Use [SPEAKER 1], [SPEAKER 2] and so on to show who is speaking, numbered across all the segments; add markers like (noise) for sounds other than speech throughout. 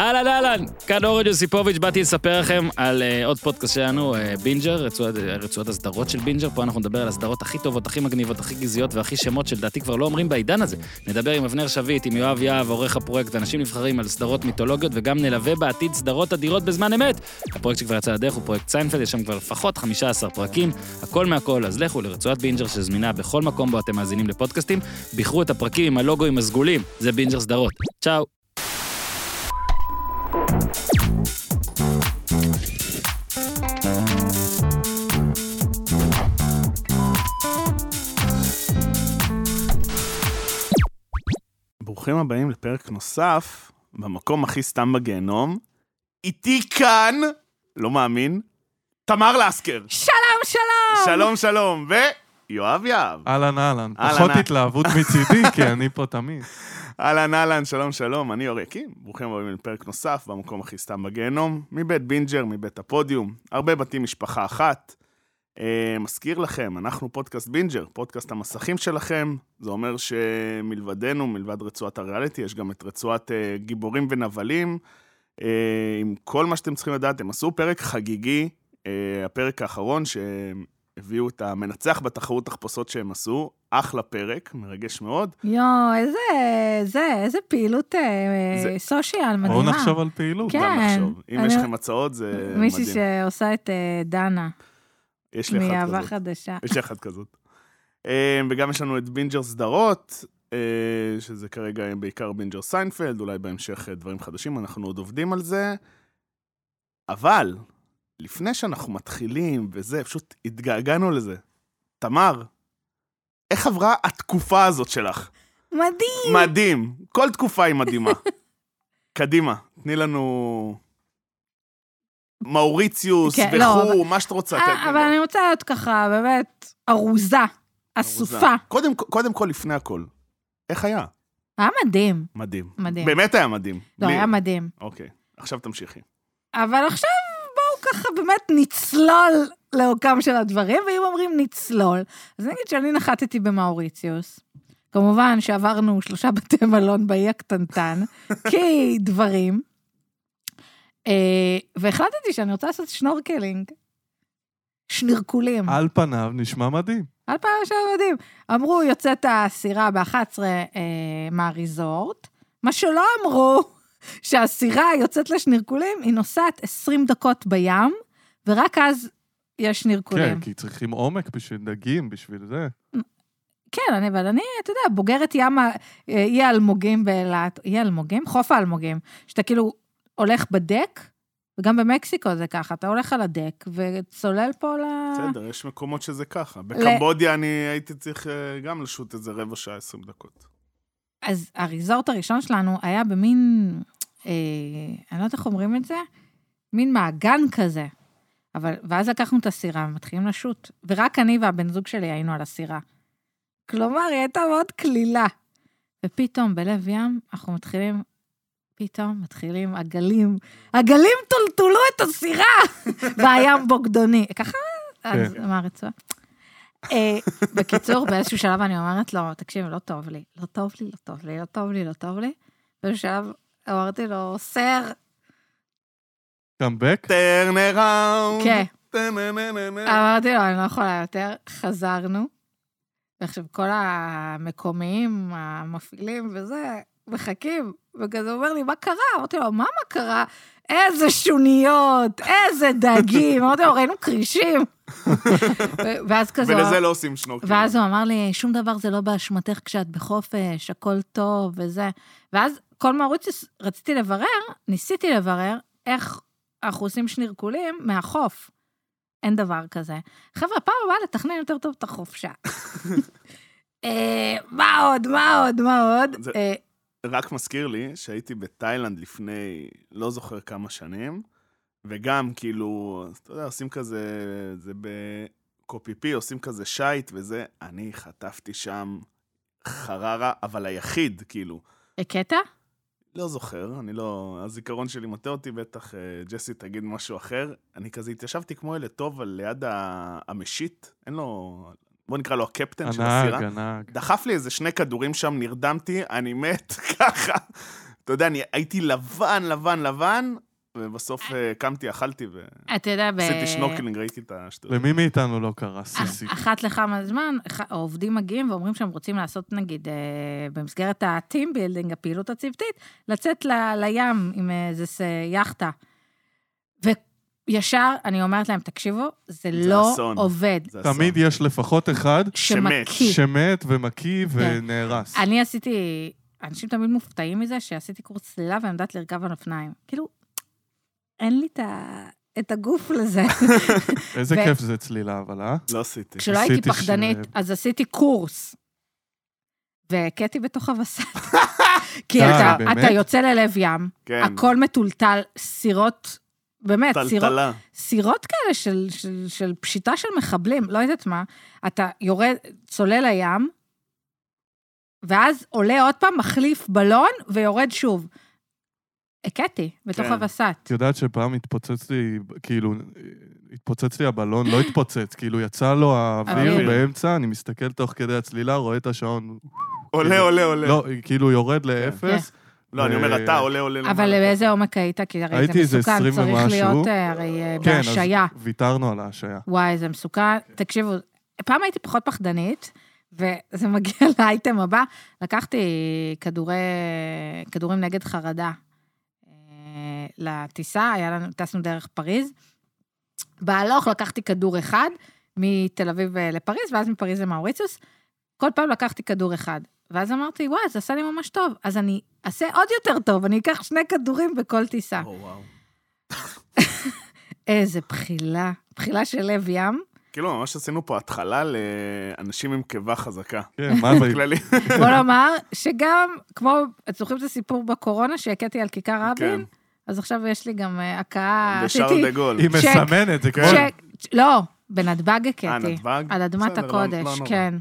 [SPEAKER 1] אהלן אהלן, כאן אורן יוסיפוביץ', באתי לספר לכם על uh, עוד פודקאסט שלנו, uh, בינג'ר, רצועת, רצועת הסדרות של בינג'ר, פה אנחנו נדבר על הסדרות הכי טובות, הכי מגניבות, הכי גזעיות והכי שמות שלדעתי כבר לא אומרים בעידן הזה. נדבר עם אבנר שביט, עם יואב יהב, עורך הפרויקט, אנשים נבחרים על סדרות מיתולוגיות, וגם נלווה בעתיד סדרות אדירות בזמן אמת. הפרויקט שכבר יצא לדרך הוא פרויקט סיינפלד, יש שם כבר לפחות 15 פרקים, הכל מהכל, אז לכו לרצועת בינג'ר שזמינה בכל מקום בו אתם מאזינים לפודקאסטים, בחרו את הפרקים עם הלוגוים הסגולים, זה בינג'ר סדרות. צ'או.
[SPEAKER 2] ברוכים הבאים לפרק נוסף, במקום הכי סתם בגיהנום. איתי כאן, לא מאמין, תמר לסקר.
[SPEAKER 3] שלום, שלום!
[SPEAKER 2] שלום, שלום, ויואב יהב.
[SPEAKER 4] אהלן אהלן,
[SPEAKER 2] אהלן,
[SPEAKER 4] פחות
[SPEAKER 2] אהלן.
[SPEAKER 4] התלהבות מצידי, כי אני פה תמיד.
[SPEAKER 2] אהלן, אהלן, שלום, שלום, אני אור יקים. ברוכים הבאים לפרק נוסף, במקום הכי סתם בגיהנום, מבית בינג'ר, מבית הפודיום, הרבה בתים משפחה אחת. אה, מזכיר לכם, אנחנו פודקאסט בינג'ר, פודקאסט המסכים שלכם. זה אומר שמלבדנו, מלבד רצועת הריאליטי, יש גם את רצועת אה, גיבורים ונבלים. אה, עם כל מה שאתם צריכים לדעת, הם עשו פרק חגיגי, אה, הפרק האחרון שהביאו את המנצח בתחרות תחפושות שהם עשו, אחלה פרק, מרגש מאוד.
[SPEAKER 3] יואו, איזה, זה, איזה פעילות אה,
[SPEAKER 2] זה-
[SPEAKER 3] סושיאל (laughs) מדהימה.
[SPEAKER 4] בואו נחשוב על פעילות.
[SPEAKER 3] כן.
[SPEAKER 2] גם לחשוב. אם
[SPEAKER 3] אני-
[SPEAKER 2] יש לכם הצעות, זה
[SPEAKER 3] מישהי
[SPEAKER 2] אה, מדהים.
[SPEAKER 3] שעושה את אה, דנה,
[SPEAKER 2] יש לי אחת
[SPEAKER 3] מאהבה
[SPEAKER 2] כזאת.
[SPEAKER 3] חדשה.
[SPEAKER 2] יש לי אחת כזאת. אה, וגם יש לנו את בינג'ר סדרות, אה, שזה כרגע בעיקר בינג'ר סיינפלד, אולי בהמשך אה, דברים חדשים, אנחנו עוד עובדים על זה. אבל, לפני שאנחנו מתחילים וזה, פשוט התגעגענו לזה. תמר, איך עברה התקופה הזאת שלך?
[SPEAKER 3] מדהים!
[SPEAKER 2] מדהים. כל תקופה היא
[SPEAKER 3] (laughs)
[SPEAKER 2] מדהימה. קדימה, תני לנו... מאוריציוס,
[SPEAKER 3] כן, לא,
[SPEAKER 2] בחור, מה שאת רוצה.
[SPEAKER 3] אה,
[SPEAKER 2] תני
[SPEAKER 3] אבל
[SPEAKER 2] לנו.
[SPEAKER 3] אני רוצה להיות ככה, באמת, ארוזה, אסופה.
[SPEAKER 2] ארוזה. קודם, קודם כל, לפני הכל, איך היה?
[SPEAKER 3] היה מדהים,
[SPEAKER 2] מדהים.
[SPEAKER 3] מדהים.
[SPEAKER 2] באמת היה מדהים.
[SPEAKER 3] לא,
[SPEAKER 2] בלי-
[SPEAKER 3] היה מדהים.
[SPEAKER 2] אוקיי, עכשיו תמשיכי.
[SPEAKER 3] אבל עכשיו בואו ככה באמת נצלול לעומקם של הדברים, ואם אומרים נצלול, אז נגיד שאני נחתתי במאוריציוס. כמובן שעברנו שלושה (laughs) בתי מלון באי הקטנטן, כי דברים. אה, והחלטתי שאני רוצה לעשות שנורקלינג. שנירקולים.
[SPEAKER 4] על פניו נשמע מדהים.
[SPEAKER 3] על פעם של מדהים. אמרו, יוצאת הסירה ב-11 אה, מהריזורט, מה שלא אמרו, (laughs) שהסירה יוצאת לשנירקולים, היא נוסעת 20 דקות בים, ורק אז יש שנירקולים.
[SPEAKER 4] כן, כי צריכים עומק בשביל דגים, בשביל זה.
[SPEAKER 3] כן, אני, אבל אני, אתה יודע, בוגרת ים, ה- אה, אי האלמוגים באילת, אי האלמוגים? חוף האלמוגים, שאתה כאילו הולך בדק, וגם במקסיקו זה ככה, אתה הולך על הדק וצולל פה ל...
[SPEAKER 2] בסדר, יש מקומות שזה ככה.
[SPEAKER 3] אה. ל-
[SPEAKER 2] בקמבודיה אני הייתי צריך אה, גם לשוט איזה רבע שעה, 20 דקות.
[SPEAKER 3] אז הריזורט הראשון שלנו היה במין, אה, אני לא יודעת איך אומרים את זה, מין מעגן כזה. אבל, ואז לקחנו את הסירה ומתחילים לשוט, ורק אני והבן זוג שלי היינו על הסירה. כלומר, היא הייתה מאוד קלילה. ופתאום, בלב ים, אנחנו מתחילים, פתאום מתחילים הגלים, הגלים טולטלו את הסירה, (laughs) והים בוגדוני. ככה, אז
[SPEAKER 4] כן.
[SPEAKER 3] מה הרצועה? אה, בקיצור, באיזשהו שלב אני אומרת לו, תקשיב, לא טוב לי, לא טוב לי, לא טוב לי, לא טוב לי, לא טוב לי. באיזשהו שלב אמרתי לו, סר,
[SPEAKER 4] קאמבק?
[SPEAKER 2] טרן אראונד.
[SPEAKER 3] כן.
[SPEAKER 2] טנננננן.
[SPEAKER 3] אמרתי לו, אני לא יכולה יותר, חזרנו. ועכשיו כל המקומיים, המפעילים וזה, מחכים, וכזה הוא אומר לי, מה קרה? אמרתי לו, מה מה קרה? איזה שוניות, איזה דגים. אמרתי לו, ראינו כרישים. ו- ואז כזה...
[SPEAKER 2] ולזה לא עושים שנורקל.
[SPEAKER 3] ואז הוא אמר לי, שום דבר זה לא באשמתך כשאת בחופש, הכל טוב וזה. ואז כל מאוריציוס, רציתי לברר, ניסיתי לברר איך אנחנו עושים שנירקולים מהחוף. אין דבר כזה. חבר'ה, פעם הבאה לתכנן יותר טוב את החופשה. (laughs) אה, מה עוד, מה עוד, מה עוד?
[SPEAKER 2] זה-
[SPEAKER 3] אה,
[SPEAKER 2] רק מזכיר לי שהייתי בתאילנד לפני לא זוכר כמה שנים, וגם כאילו, אתה יודע, עושים כזה, זה בקופיפי, עושים כזה שייט וזה, אני חטפתי שם חררה, אבל היחיד, כאילו.
[SPEAKER 3] הקטע?
[SPEAKER 2] לא זוכר, אני לא... הזיכרון שלי מטעה אותי, בטח אה, ג'סי תגיד משהו אחר. אני כזה התיישבתי כמו ילד טוב על ליד ה- המשיט, אין לו... בוא נקרא לו הקפטן של הסירה.
[SPEAKER 4] הנהג, הנהג.
[SPEAKER 2] דחף לי איזה שני כדורים שם, נרדמתי, אני מת (laughs) ככה. אתה יודע, אני הייתי לבן, לבן, לבן, ובסוף אה, קמתי, אכלתי
[SPEAKER 3] אתה יודע, ב...
[SPEAKER 2] ועשיתי שנורקלינג, ראיתי את השטויות.
[SPEAKER 4] למי מאיתנו לא קרה סיסי?
[SPEAKER 3] אח- אחת לכמה זמן, אח- העובדים מגיעים ואומרים שהם רוצים לעשות, נגיד, אה, במסגרת ה-team building, הפעילות הצוותית, לצאת ל- לים עם איזה ס- יאכטה. וישר אני אומרת להם, תקשיבו,
[SPEAKER 2] זה
[SPEAKER 3] זה לא
[SPEAKER 2] אסון.
[SPEAKER 3] עובד.
[SPEAKER 2] זה אסון.
[SPEAKER 4] תמיד יש לפחות אחד
[SPEAKER 2] שמת.
[SPEAKER 3] שמקיא.
[SPEAKER 4] שמת ומקיא ונהרס.
[SPEAKER 3] כן. אני עשיתי, אנשים תמיד מופתעים מזה שעשיתי קורס צלילה ואני יודעת לרכב על אופניים. כאילו, אין לי את ה- את הגוף לזה.
[SPEAKER 4] איזה
[SPEAKER 3] ו-
[SPEAKER 4] כיף זה צלילה, אבל אה?
[SPEAKER 2] לא עשיתי.
[SPEAKER 3] כשלא הייתי
[SPEAKER 4] עשיתי
[SPEAKER 3] פחדנית,
[SPEAKER 4] שניהם.
[SPEAKER 3] אז עשיתי קורס. והכיתי בתוך הווסת.
[SPEAKER 4] (laughs)
[SPEAKER 3] כי
[SPEAKER 4] די,
[SPEAKER 3] אתה,
[SPEAKER 4] אה, באמת?
[SPEAKER 3] אתה יוצא ללב ים,
[SPEAKER 2] כן.
[SPEAKER 3] הכל מטולטל, סירות, באמת, סירות,
[SPEAKER 2] טלטלה.
[SPEAKER 3] סירות כאלה של, של, של פשיטה של מחבלים, לא יודעת מה. אתה יורד, צולל לים, ואז עולה עוד פעם, מחליף בלון ויורד שוב. הכיתי בתוך
[SPEAKER 2] כן.
[SPEAKER 3] הווסת.
[SPEAKER 4] את יודעת שפעם התפוצץ לי, כאילו, התפוצץ לי הבלון, לא התפוצץ, כאילו יצא לו האוויר
[SPEAKER 2] האוויר.
[SPEAKER 4] באמצע, אני מסתכל תוך כדי הצלילה, רואה את השעון,
[SPEAKER 2] עולה,
[SPEAKER 4] כאילו-
[SPEAKER 2] עולה, עולה.
[SPEAKER 4] לא, כאילו יורד לאפס.
[SPEAKER 3] כן,
[SPEAKER 2] לא, אני אומר, אתה עולה,
[SPEAKER 4] כן,
[SPEAKER 2] עולה.
[SPEAKER 3] אבל
[SPEAKER 2] למעלה.
[SPEAKER 3] באיזה עומק היית? כי הרי
[SPEAKER 4] הייתי
[SPEAKER 3] זה
[SPEAKER 4] איזה
[SPEAKER 3] מסוכן,
[SPEAKER 4] 20
[SPEAKER 3] צריך
[SPEAKER 4] ומשהו.
[SPEAKER 3] להיות אה, הרי אה,
[SPEAKER 4] כן, אז
[SPEAKER 3] בהשעיה.
[SPEAKER 4] ויתרנו על ההשעיה.
[SPEAKER 3] וואי, זה מסוכן. תקשיבו, פעם הייתי פחות פחדנית, וזה מגיע (laughs) לאייטם הבא. לקחתי כדורי, כדורים נגד חרדה אה, לטיסה, היה לנו, טסנו דרך פריז. בהלוך לקחתי כדור אחד מתל אביב אה, לפריז, ואז מפריז למאוריציוס. כל פעם לקחתי כדור אחד. ואז אמרתי, וואי, זה עשה לי ממש טוב. אז אני אעשה עוד יותר טוב, אני אקח שני כדורים בכל טיסה.
[SPEAKER 2] או, וואו.
[SPEAKER 3] איזה בחילה, בחילה של לב ים.
[SPEAKER 2] כאילו, ממש עשינו פה התחלה לאנשים עם קיבה חזקה.
[SPEAKER 4] כן, מה
[SPEAKER 2] (laughs)
[SPEAKER 4] אבל...
[SPEAKER 2] כללי.
[SPEAKER 3] בוא נאמר שגם, כמו, אתם זוכרים את הסיפור בקורונה שהכיתי על כיכר רבין?
[SPEAKER 2] כן.
[SPEAKER 3] אז עכשיו יש לי גם אה, הכאה,
[SPEAKER 2] בשארל דה גול.
[SPEAKER 4] היא
[SPEAKER 3] צ'ק,
[SPEAKER 4] מסמנת, זה כמו...
[SPEAKER 3] צ'ק, לא, בנתב"ג
[SPEAKER 2] אה,
[SPEAKER 3] הכיתי.
[SPEAKER 2] נתב"ג?
[SPEAKER 3] כן, על אדמת
[SPEAKER 2] בסדר, לא- לא
[SPEAKER 3] הקודש,
[SPEAKER 2] נורא.
[SPEAKER 3] כן.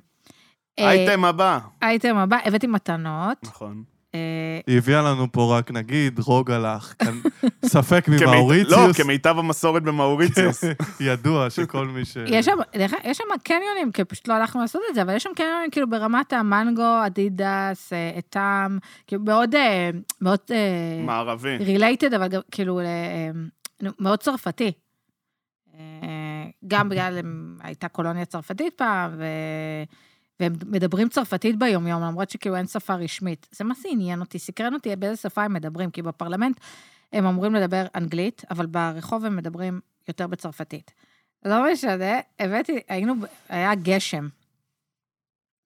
[SPEAKER 3] אה,
[SPEAKER 2] אייטם הבא.
[SPEAKER 3] אייטם הבא, הבאתי מתנות.
[SPEAKER 2] נכון.
[SPEAKER 3] אה,
[SPEAKER 4] היא הביאה לנו פה רק, נגיד, רוגלח,
[SPEAKER 3] (laughs)
[SPEAKER 4] ספק
[SPEAKER 2] כמי-
[SPEAKER 4] ממאוריציוס,
[SPEAKER 2] לא, כמיטב המסורת במאוריציוס.
[SPEAKER 4] (laughs) ידוע שכל מי ש...
[SPEAKER 3] אה, יש שם, דרך אגב, יש שם קניונים, כי פשוט לא הלכנו לעשות את זה, אבל יש שם קניונים כאילו ברמת המנגו, אדידס, אה, אתם, כאילו מאוד, אה, מאוד אה,
[SPEAKER 2] מערבי.
[SPEAKER 3] רילייטד, אבל גם כאילו אה, נו, מאוד צרפתי. אה, גם בגלל, הם- הייתה קולוניה צרפתית פעם, ו... והם מדברים צרפתית ביומיום, למרות שכאילו אין שפה רשמית. זה מה זה עניין אותי, סקרן אותי באיזה שפה הם מדברים, כי בפרלמנט הם אמורים לדבר אנגלית, אבל ברחוב הם מדברים יותר בצרפתית. לא משנה, הבאתי, היינו, ב- היה גשם.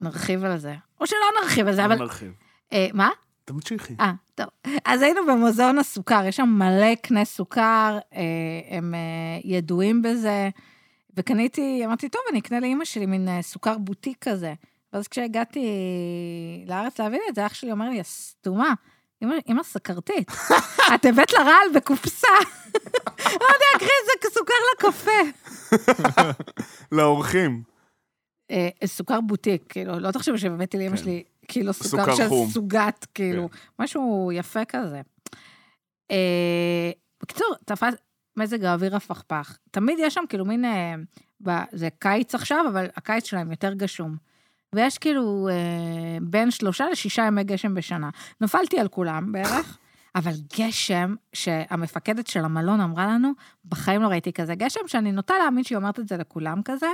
[SPEAKER 3] נרחיב על זה. או שלא נרחיב על זה,
[SPEAKER 2] לא
[SPEAKER 3] אבל...
[SPEAKER 2] נרחיב.
[SPEAKER 3] אה, מה?
[SPEAKER 2] תמשיכי.
[SPEAKER 3] אה, טוב. אז היינו במוזיאון הסוכר, יש שם מלא קנה סוכר, אה, הם אה, ידועים בזה, וקניתי, אמרתי, טוב, אני אקנה לאימא שלי מין אה, סוכר בוטיק כזה. ואז כשהגעתי לארץ להביא לי את זה, אח שלי אומר לי, הסתומה, אימא אימא סכרתית, את הבאת לה רעל בקופסה. (laughs) אמרתי, אקריא זה סוכר לקפה.
[SPEAKER 2] לאורחים.
[SPEAKER 3] אה, סוכר בוטיק, כאילו, לא תחשבו שהבאתי לאימא
[SPEAKER 2] כן.
[SPEAKER 3] שלי כאילו
[SPEAKER 2] סוכר
[SPEAKER 3] סוכר של
[SPEAKER 2] חום.
[SPEAKER 3] סוגת, כאילו, משהו יפה כזה. אה, בקיצור, תפס מזג האוויר הפכפך. תמיד יש שם כאילו מין, אה, ב- זה קיץ עכשיו, אבל הקיץ שלהם יותר גשום. ויש כאילו אה, בין שלושה לשישה ימי גשם בשנה. נפלתי על כולם בערך, אבל גשם שהמפקדת של המלון אמרה לנו, בחיים לא ראיתי כזה גשם, שאני נוטה להאמין שהיא אומרת את זה לכולם כזה,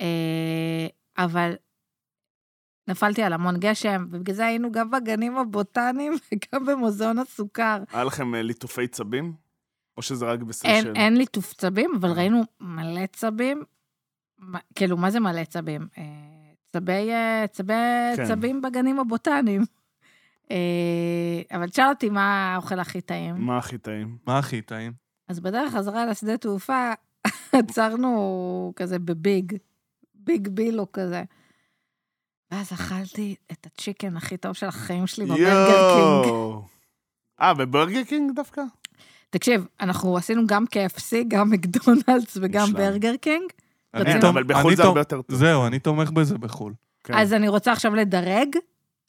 [SPEAKER 3] אה, אבל נפלתי על המון גשם, ובגלל זה היינו גם בגנים הבוטניים (laughs) וגם במוזיאון הסוכר.
[SPEAKER 2] היה לכם אה, ליטופי צבים? או שזה רק
[SPEAKER 3] אין,
[SPEAKER 2] בסיישל?
[SPEAKER 3] אין ליטוף צבים, אבל
[SPEAKER 2] אה.
[SPEAKER 3] ראינו מלא צבים. מה- כאילו, מה זה מלא צבים? אה, צבי, אה, צבי,
[SPEAKER 2] כן.
[SPEAKER 3] צבים בגנים הבוטניים. אה, אבל תשאל אותי מה האוכל הכי טעים.
[SPEAKER 2] מה הכי טעים?
[SPEAKER 4] מה הכי טעים?
[SPEAKER 3] אז בדרך חזרה לשדה תעופה, (laughs) עצרנו כזה בביג, ביג בילו כזה. ואז אכלתי את הצ'יקן הכי טוב של החיים שלי בברגר קינג.
[SPEAKER 2] יואו. אה, בברגר קינג דווקא?
[SPEAKER 3] תקשיב, אנחנו עשינו גם KFC, גם מקדונלדס וגם
[SPEAKER 2] מושלם.
[SPEAKER 3] ברגר קינג.
[SPEAKER 4] אני
[SPEAKER 2] אין,
[SPEAKER 3] תום-
[SPEAKER 2] אבל
[SPEAKER 4] אני
[SPEAKER 2] בחו"ל זה
[SPEAKER 4] תום-
[SPEAKER 2] הרבה יותר טוב.
[SPEAKER 4] זהו, אני תומך בזה בחו"ל.
[SPEAKER 2] כן.
[SPEAKER 3] אז אני רוצה עכשיו לדרג.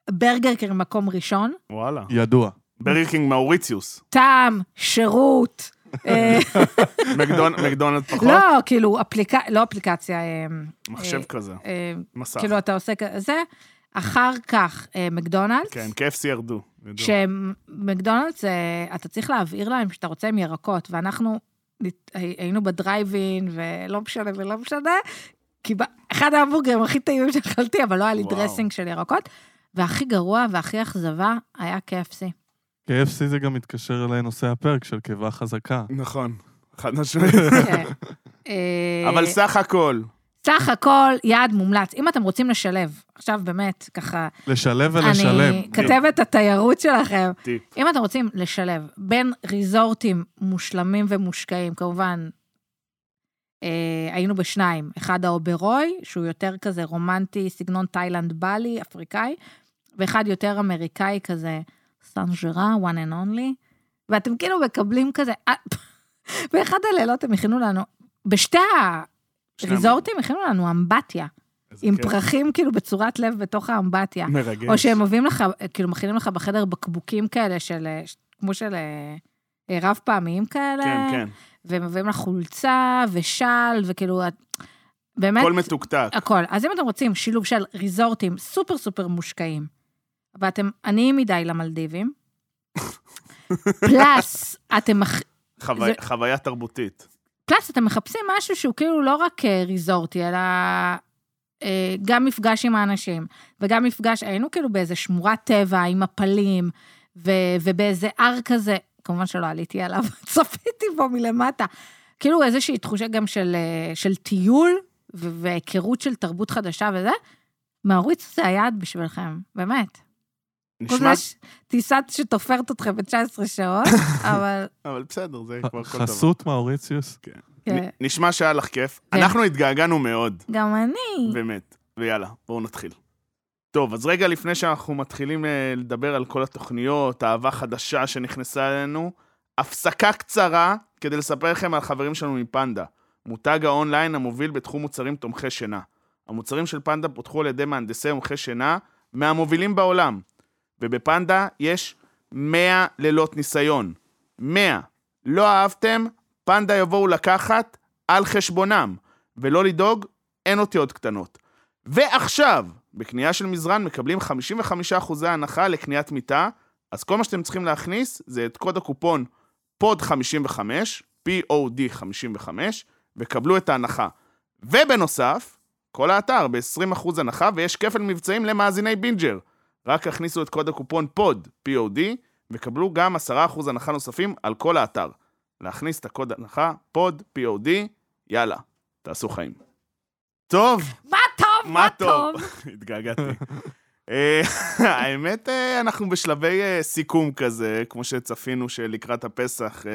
[SPEAKER 3] ברגר קינג מקום ראשון,
[SPEAKER 2] וואלה.
[SPEAKER 4] ידוע.
[SPEAKER 2] ברגר קינג
[SPEAKER 3] (laughs)
[SPEAKER 2] מאוריציוס.
[SPEAKER 3] טעם,
[SPEAKER 2] (laughs)
[SPEAKER 3] שירות. אה,
[SPEAKER 2] מקדונ- מקדונלד פחות?
[SPEAKER 3] לא, כאילו, אפליקציה, לא אפליקציה, אה,
[SPEAKER 2] מחשב כזה.
[SPEAKER 3] אה,
[SPEAKER 2] מסך.
[SPEAKER 3] כאילו, אתה עושה כזה, אחר כך, אה, מקדונלדס.
[SPEAKER 2] כן, KFC ירדו. ידוע.
[SPEAKER 3] שמקדונלדס, אה, אתה צריך להבהיר להם שאתה רוצה עם ירקות, ואנחנו נת- הי- היינו בדרייבין, ולא משנה ולא משנה, כי ב- אחד ההמבורגרים הכי טעימים שאכלתי, אבל לא היה לי
[SPEAKER 2] וואו.
[SPEAKER 3] דרסינג של ירקות, והכי גרוע והכי אכזבה היה
[SPEAKER 2] (laughs)
[SPEAKER 3] KFC.
[SPEAKER 4] KFC זה גם מתקשר לנושא הפרק של קיבה חזקה.
[SPEAKER 2] נכון, חד משמעית.
[SPEAKER 3] כן. אה,
[SPEAKER 2] אבל סך הכל,
[SPEAKER 3] סך הכל, יעד מומלץ. אם אתם רוצים לשלב, עכשיו באמת, ככה,
[SPEAKER 4] לשלב ולשלם.
[SPEAKER 3] אני כתבת התיירות שלכם,
[SPEAKER 2] טיפ.
[SPEAKER 3] אם אתם רוצים לשלב בין ריזורטים מושלמים ומושקעים, כמובן, אה, היינו בשניים, אחד האוברוי, שהוא יותר כזה רומנטי, סגנון תאילנד בלי, אפריקאי, ואחד יותר אמריקאי כזה, סן ג'רה, one and only, ואתם כאילו מקבלים כזה, אה, (laughs) באחד הלילות הם הכינו לנו, בשתי
[SPEAKER 2] שני
[SPEAKER 3] הריזורטים הכינו לנו אמבטיה,
[SPEAKER 2] איזה
[SPEAKER 3] עם
[SPEAKER 2] כיף.
[SPEAKER 3] פרחים כאילו בצורת לב בתוך האמבטיה.
[SPEAKER 2] מרגש.
[SPEAKER 3] או שהם מביאים לך, כאילו מכינים לך בחדר בקבוקים כאלה של, אה, ש- כמו של אה, אה, רב פעמיים כאלה.
[SPEAKER 2] כן, כן.
[SPEAKER 3] ומביאים לך חולצה ושל, וכאילו, את- באמת,
[SPEAKER 2] הכל מתוקתק.
[SPEAKER 3] הכל. אז אם אתם רוצים שילוב של ריזורטים סופר סופר מושקעים, ואתם עניים מדי
[SPEAKER 2] (laughs)
[SPEAKER 3] למלדיבים, פלאס, אתם מח-
[SPEAKER 2] חוו-
[SPEAKER 3] זה-
[SPEAKER 2] חוויה תרבותית.
[SPEAKER 3] פלאס, אתם מחפשים משהו שהוא כאילו לא רק אה, ריזורטי, אלא אה, גם מפגש עם האנשים, וגם מפגש, היינו כאילו באיזה שמורת טבע עם מפלים, ו, ובאיזה הר כזה, כמובן שלא עליתי עליו, (laughs) צפיתי בו מלמטה. כאילו איזושהי תחושה גם של, אה, של טיול, ו- והיכרות של תרבות חדשה וזה, מעריץ זה היעד בשבילכם, באמת. חוץ
[SPEAKER 2] נשמע,
[SPEAKER 3] מזה טיסה שתופרת אתכם ב-19 שעות, אבל...
[SPEAKER 2] אבל בסדר, זה כבר כל דבר.
[SPEAKER 4] חסות מאוריציוס.
[SPEAKER 3] כן.
[SPEAKER 2] נ- נשמע שהיה לך כיף. אנחנו התגעגענו מאוד.
[SPEAKER 3] גם אני.
[SPEAKER 2] באמת. ויאללה, בואו נתחיל. טוב, אז רגע לפני שאנחנו מתחילים אה, לדבר על כל התוכניות, אהבה חדשה שנכנסה אלינו, הפסקה קצרה כדי לספר לכם על חברים שלנו מפנדה, מותג האונליין המוביל בתחום מוצרים תומכי שינה. המוצרים של פנדה פותחו על ידי מהנדסי תומכי שינה מהמובילים בעולם, ובפנדה יש 100 לילות ניסיון. 100. לא אהבתם, פנדה יבואו לקחת על חשבונם, ולא לדאוג, אין אותיות קטנות. ועכשיו, בקנייה של מזרן מקבלים 55% הנחה לקניית מיטה, אז כל מה שאתם צריכים להכניס זה את קוד הקופון פוד 55, POD 55, וקבלו את ההנחה. ובנוסף, כל האתר ב-20% הנחה ויש כפל מבצעים למאזיני בינג'ר. רק הכניסו את קוד הקופון פוד, POD, וקבלו גם 10% הנחה נוספים על כל האתר. להכניס את הקוד הנחה פוד, POD, יאללה, תעשו חיים. טוב.
[SPEAKER 3] מה טוב, מה טוב.
[SPEAKER 2] (laughs) התגעגעתי. אה, (laughs) האמת, אה, אנחנו בשלבי אה, סיכום כזה, כמו שצפינו שלקראת הפסח אה,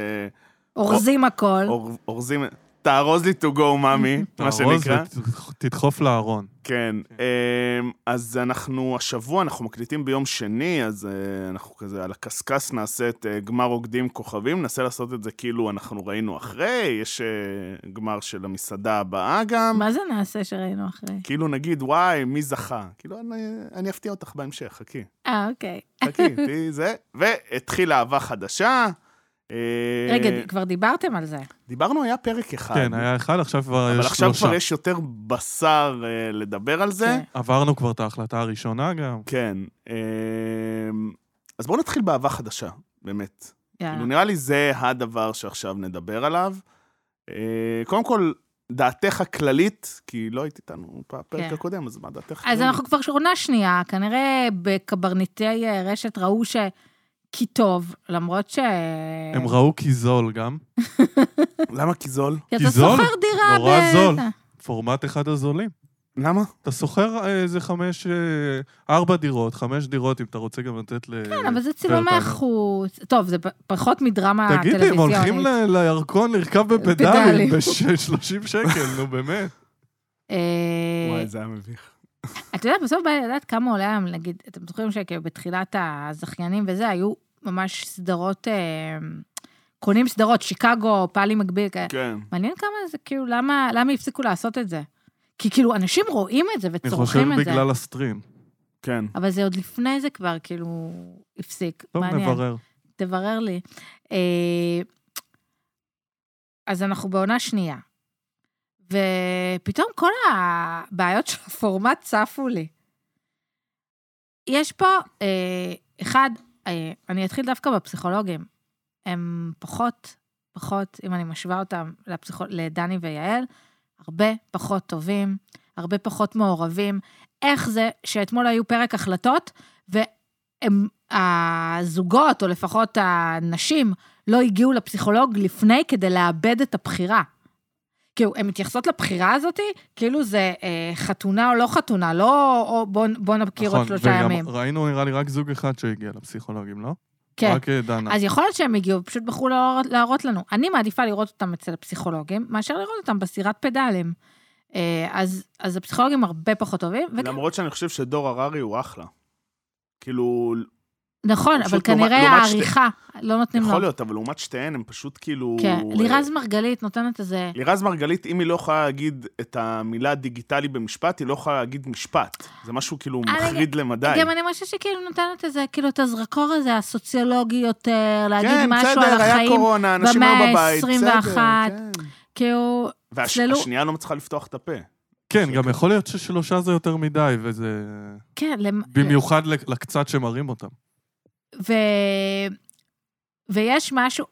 [SPEAKER 3] אורזים הכל.
[SPEAKER 2] אור- אורזים... תארוז לי to go,
[SPEAKER 3] (laughs)
[SPEAKER 2] מאמי, מה
[SPEAKER 4] תארוז
[SPEAKER 2] שנקרא.
[SPEAKER 4] ותדחוף לארון.
[SPEAKER 2] כן. אמ, אז אנחנו, השבוע אנחנו מקליטים ביום שני, אז אה, אנחנו כזה על הקשקש נעשה את אה, גמר רוקדים כוכבים, ננסה לעשות את זה כאילו אנחנו ראינו אחרי, יש אה, גמר של המסעדה הבאה גם.
[SPEAKER 3] מה זה נעשה שראינו אחרי?
[SPEAKER 2] כאילו נגיד, וואי, מי זכה? כאילו, אני, אני אפתיע אותך בהמשך, חכי.
[SPEAKER 3] אה, אוקיי.
[SPEAKER 2] חכי, תהיי זה. והתחילה אהבה חדשה. אה,
[SPEAKER 3] רגע, כבר דיברתם על זה.
[SPEAKER 2] דיברנו, היה פרק אחד.
[SPEAKER 4] כן, היה אחד, עכשיו כבר
[SPEAKER 2] אה, אבל
[SPEAKER 4] יש
[SPEAKER 2] עכשיו
[SPEAKER 4] שלושה.
[SPEAKER 2] כבר יש יותר בשר אה, לדבר על זה.
[SPEAKER 3] כן.
[SPEAKER 4] עברנו כבר את ההחלטה הראשונה גם.
[SPEAKER 2] כן. אמ, אז בואו נתחיל באהבה חדשה, באמת. כאילו,
[SPEAKER 3] יאללה.
[SPEAKER 2] נראה לי זה הדבר שעכשיו נדבר עליו. אה, קודם כל, דעתך הכללית, כי לא היית איתנו בפרק
[SPEAKER 3] כן.
[SPEAKER 2] הקודם, אז מה דעתך הכללית?
[SPEAKER 3] אז אנחנו כבר עונה שנייה, כנראה בקברניטי אה, רשת ראו ש... כי טוב, למרות ש...
[SPEAKER 4] הם
[SPEAKER 3] כן.
[SPEAKER 4] ראו כי זול גם.
[SPEAKER 2] למה כי זול?
[SPEAKER 3] כי
[SPEAKER 4] כי
[SPEAKER 3] אתה
[SPEAKER 4] זול,
[SPEAKER 3] שוכר דירה
[SPEAKER 4] נורא
[SPEAKER 3] ב-
[SPEAKER 4] זול. פורמט אחד הזולים.
[SPEAKER 2] למה?
[SPEAKER 4] אתה שוכר אה, איזה חמש, אה, ארבע דירות, חמש דירות, אם אתה רוצה גם לתת ל...
[SPEAKER 3] כן, אבל זה צילומי
[SPEAKER 4] פרטה.
[SPEAKER 3] החוץ. טוב, זה פ- פחות מדרמה
[SPEAKER 4] תגיד לי, הם הולכים
[SPEAKER 3] טלוויזיונית.
[SPEAKER 4] ל- לירקון לרכב בפדלים
[SPEAKER 3] פדלים.
[SPEAKER 4] ב-30 שקל, נו
[SPEAKER 3] (laughs)
[SPEAKER 4] באמת.
[SPEAKER 3] אה,
[SPEAKER 2] וואי, זה היה מביך.
[SPEAKER 3] אתה יודע, בסוף בא לי לדעת כמה עולה היום, נגיד, אתם זוכרים שכאילו בתחילת הזכיינים וזה, היו ממש סדרות, אה, קונים סדרות, שיקגו, פעלי מקביל, כאלה.
[SPEAKER 2] כן.
[SPEAKER 3] מעניין כמה זה, כאילו, למה, למה הפסיקו לעשות את זה? כי כאילו, אנשים רואים את זה
[SPEAKER 4] אני חושב
[SPEAKER 3] וצורכים את זה,
[SPEAKER 4] בגלל הסטרים.
[SPEAKER 2] כן.
[SPEAKER 3] אבל זה עוד לפני זה כבר, כאילו, הפסיק.
[SPEAKER 4] טוב,
[SPEAKER 3] מעניין.
[SPEAKER 4] נברר.
[SPEAKER 3] תברר לי. אה, אז אנחנו בעונה שנייה, ופתאום כל הבעיות של הפורמט צפו לי. יש פה, אה, אחד, אה, אני אתחיל דווקא בפסיכולוגים. הם פחות, פחות, אם אני משווה אותם לפסיכול... לדני ויעל, הרבה פחות טובים, הרבה פחות מעורבים. איך זה שאתמול היו פרק החלטות, והם, הזוגות, או לפחות הנשים, לא הגיעו לפסיכולוג לפני כדי לאבד את הבחירה. כאילו, הן מתייחסות לבחירה הזאת, כאילו זה אה, חתונה או לא חתונה, לא או בוא, בוא נכיר עוד שלושה
[SPEAKER 4] נכון, וגם
[SPEAKER 3] ימים.
[SPEAKER 4] ראינו נראה לי רק זוג אחד שהגיע לפסיכולוגים, לא?
[SPEAKER 3] כן.
[SPEAKER 4] רק אה,
[SPEAKER 2] נכון.
[SPEAKER 4] דנה.
[SPEAKER 3] אז יכול להיות שהם הגיעו, פשוט בחרו להראות, להראות לנו. אני מעדיפה לראות אותם אצל הפסיכולוגים, מאשר לראות אותם בסירת פדלים. אה, אז, אז הפסיכולוגים הרבה פחות טובים, וגם,
[SPEAKER 2] למרות שאני חושב שדור הררי הוא אחלה. כאילו,
[SPEAKER 3] נכון, אבל
[SPEAKER 2] פשוט לעומת-
[SPEAKER 3] כנראה
[SPEAKER 2] לעומת שתי-
[SPEAKER 3] העריכה, לא נותנים לו.
[SPEAKER 2] יכול להיות, אבל לעומת שתיהן, הם פשוט כאילו...
[SPEAKER 3] כן,
[SPEAKER 2] אה,
[SPEAKER 3] לירז מרגלית נותנת איזה...
[SPEAKER 2] לירז מרגלית, אם היא לא יכולה להגיד את המילה דיגיטלי במשפט, היא לא יכולה להגיד משפט. זה משהו כאילו
[SPEAKER 3] אני-
[SPEAKER 2] מחריד למדי.
[SPEAKER 3] אה, גם אני חושבת שכאילו נותנת איזה, כאילו, את הזרקור הזה, הסוציולוגי יותר, להגיד
[SPEAKER 2] כן,
[SPEAKER 3] משהו
[SPEAKER 2] בסדר,
[SPEAKER 3] על
[SPEAKER 2] היה
[SPEAKER 3] החיים.
[SPEAKER 2] קורונה, אנשים
[SPEAKER 3] במאה
[SPEAKER 2] היו בבית,
[SPEAKER 3] ה-21.
[SPEAKER 2] בסדר, כן.
[SPEAKER 3] כאילו, צללו.
[SPEAKER 2] והשנייה לא מצליחה לפתוח את הפה.
[SPEAKER 4] כן, גם יכול להיות ששלושה זה יותר מדי, וזה...
[SPEAKER 3] כן, למ-
[SPEAKER 4] במיוחד ל- לקצת שמראים אותם.
[SPEAKER 3] ו... ויש משהו,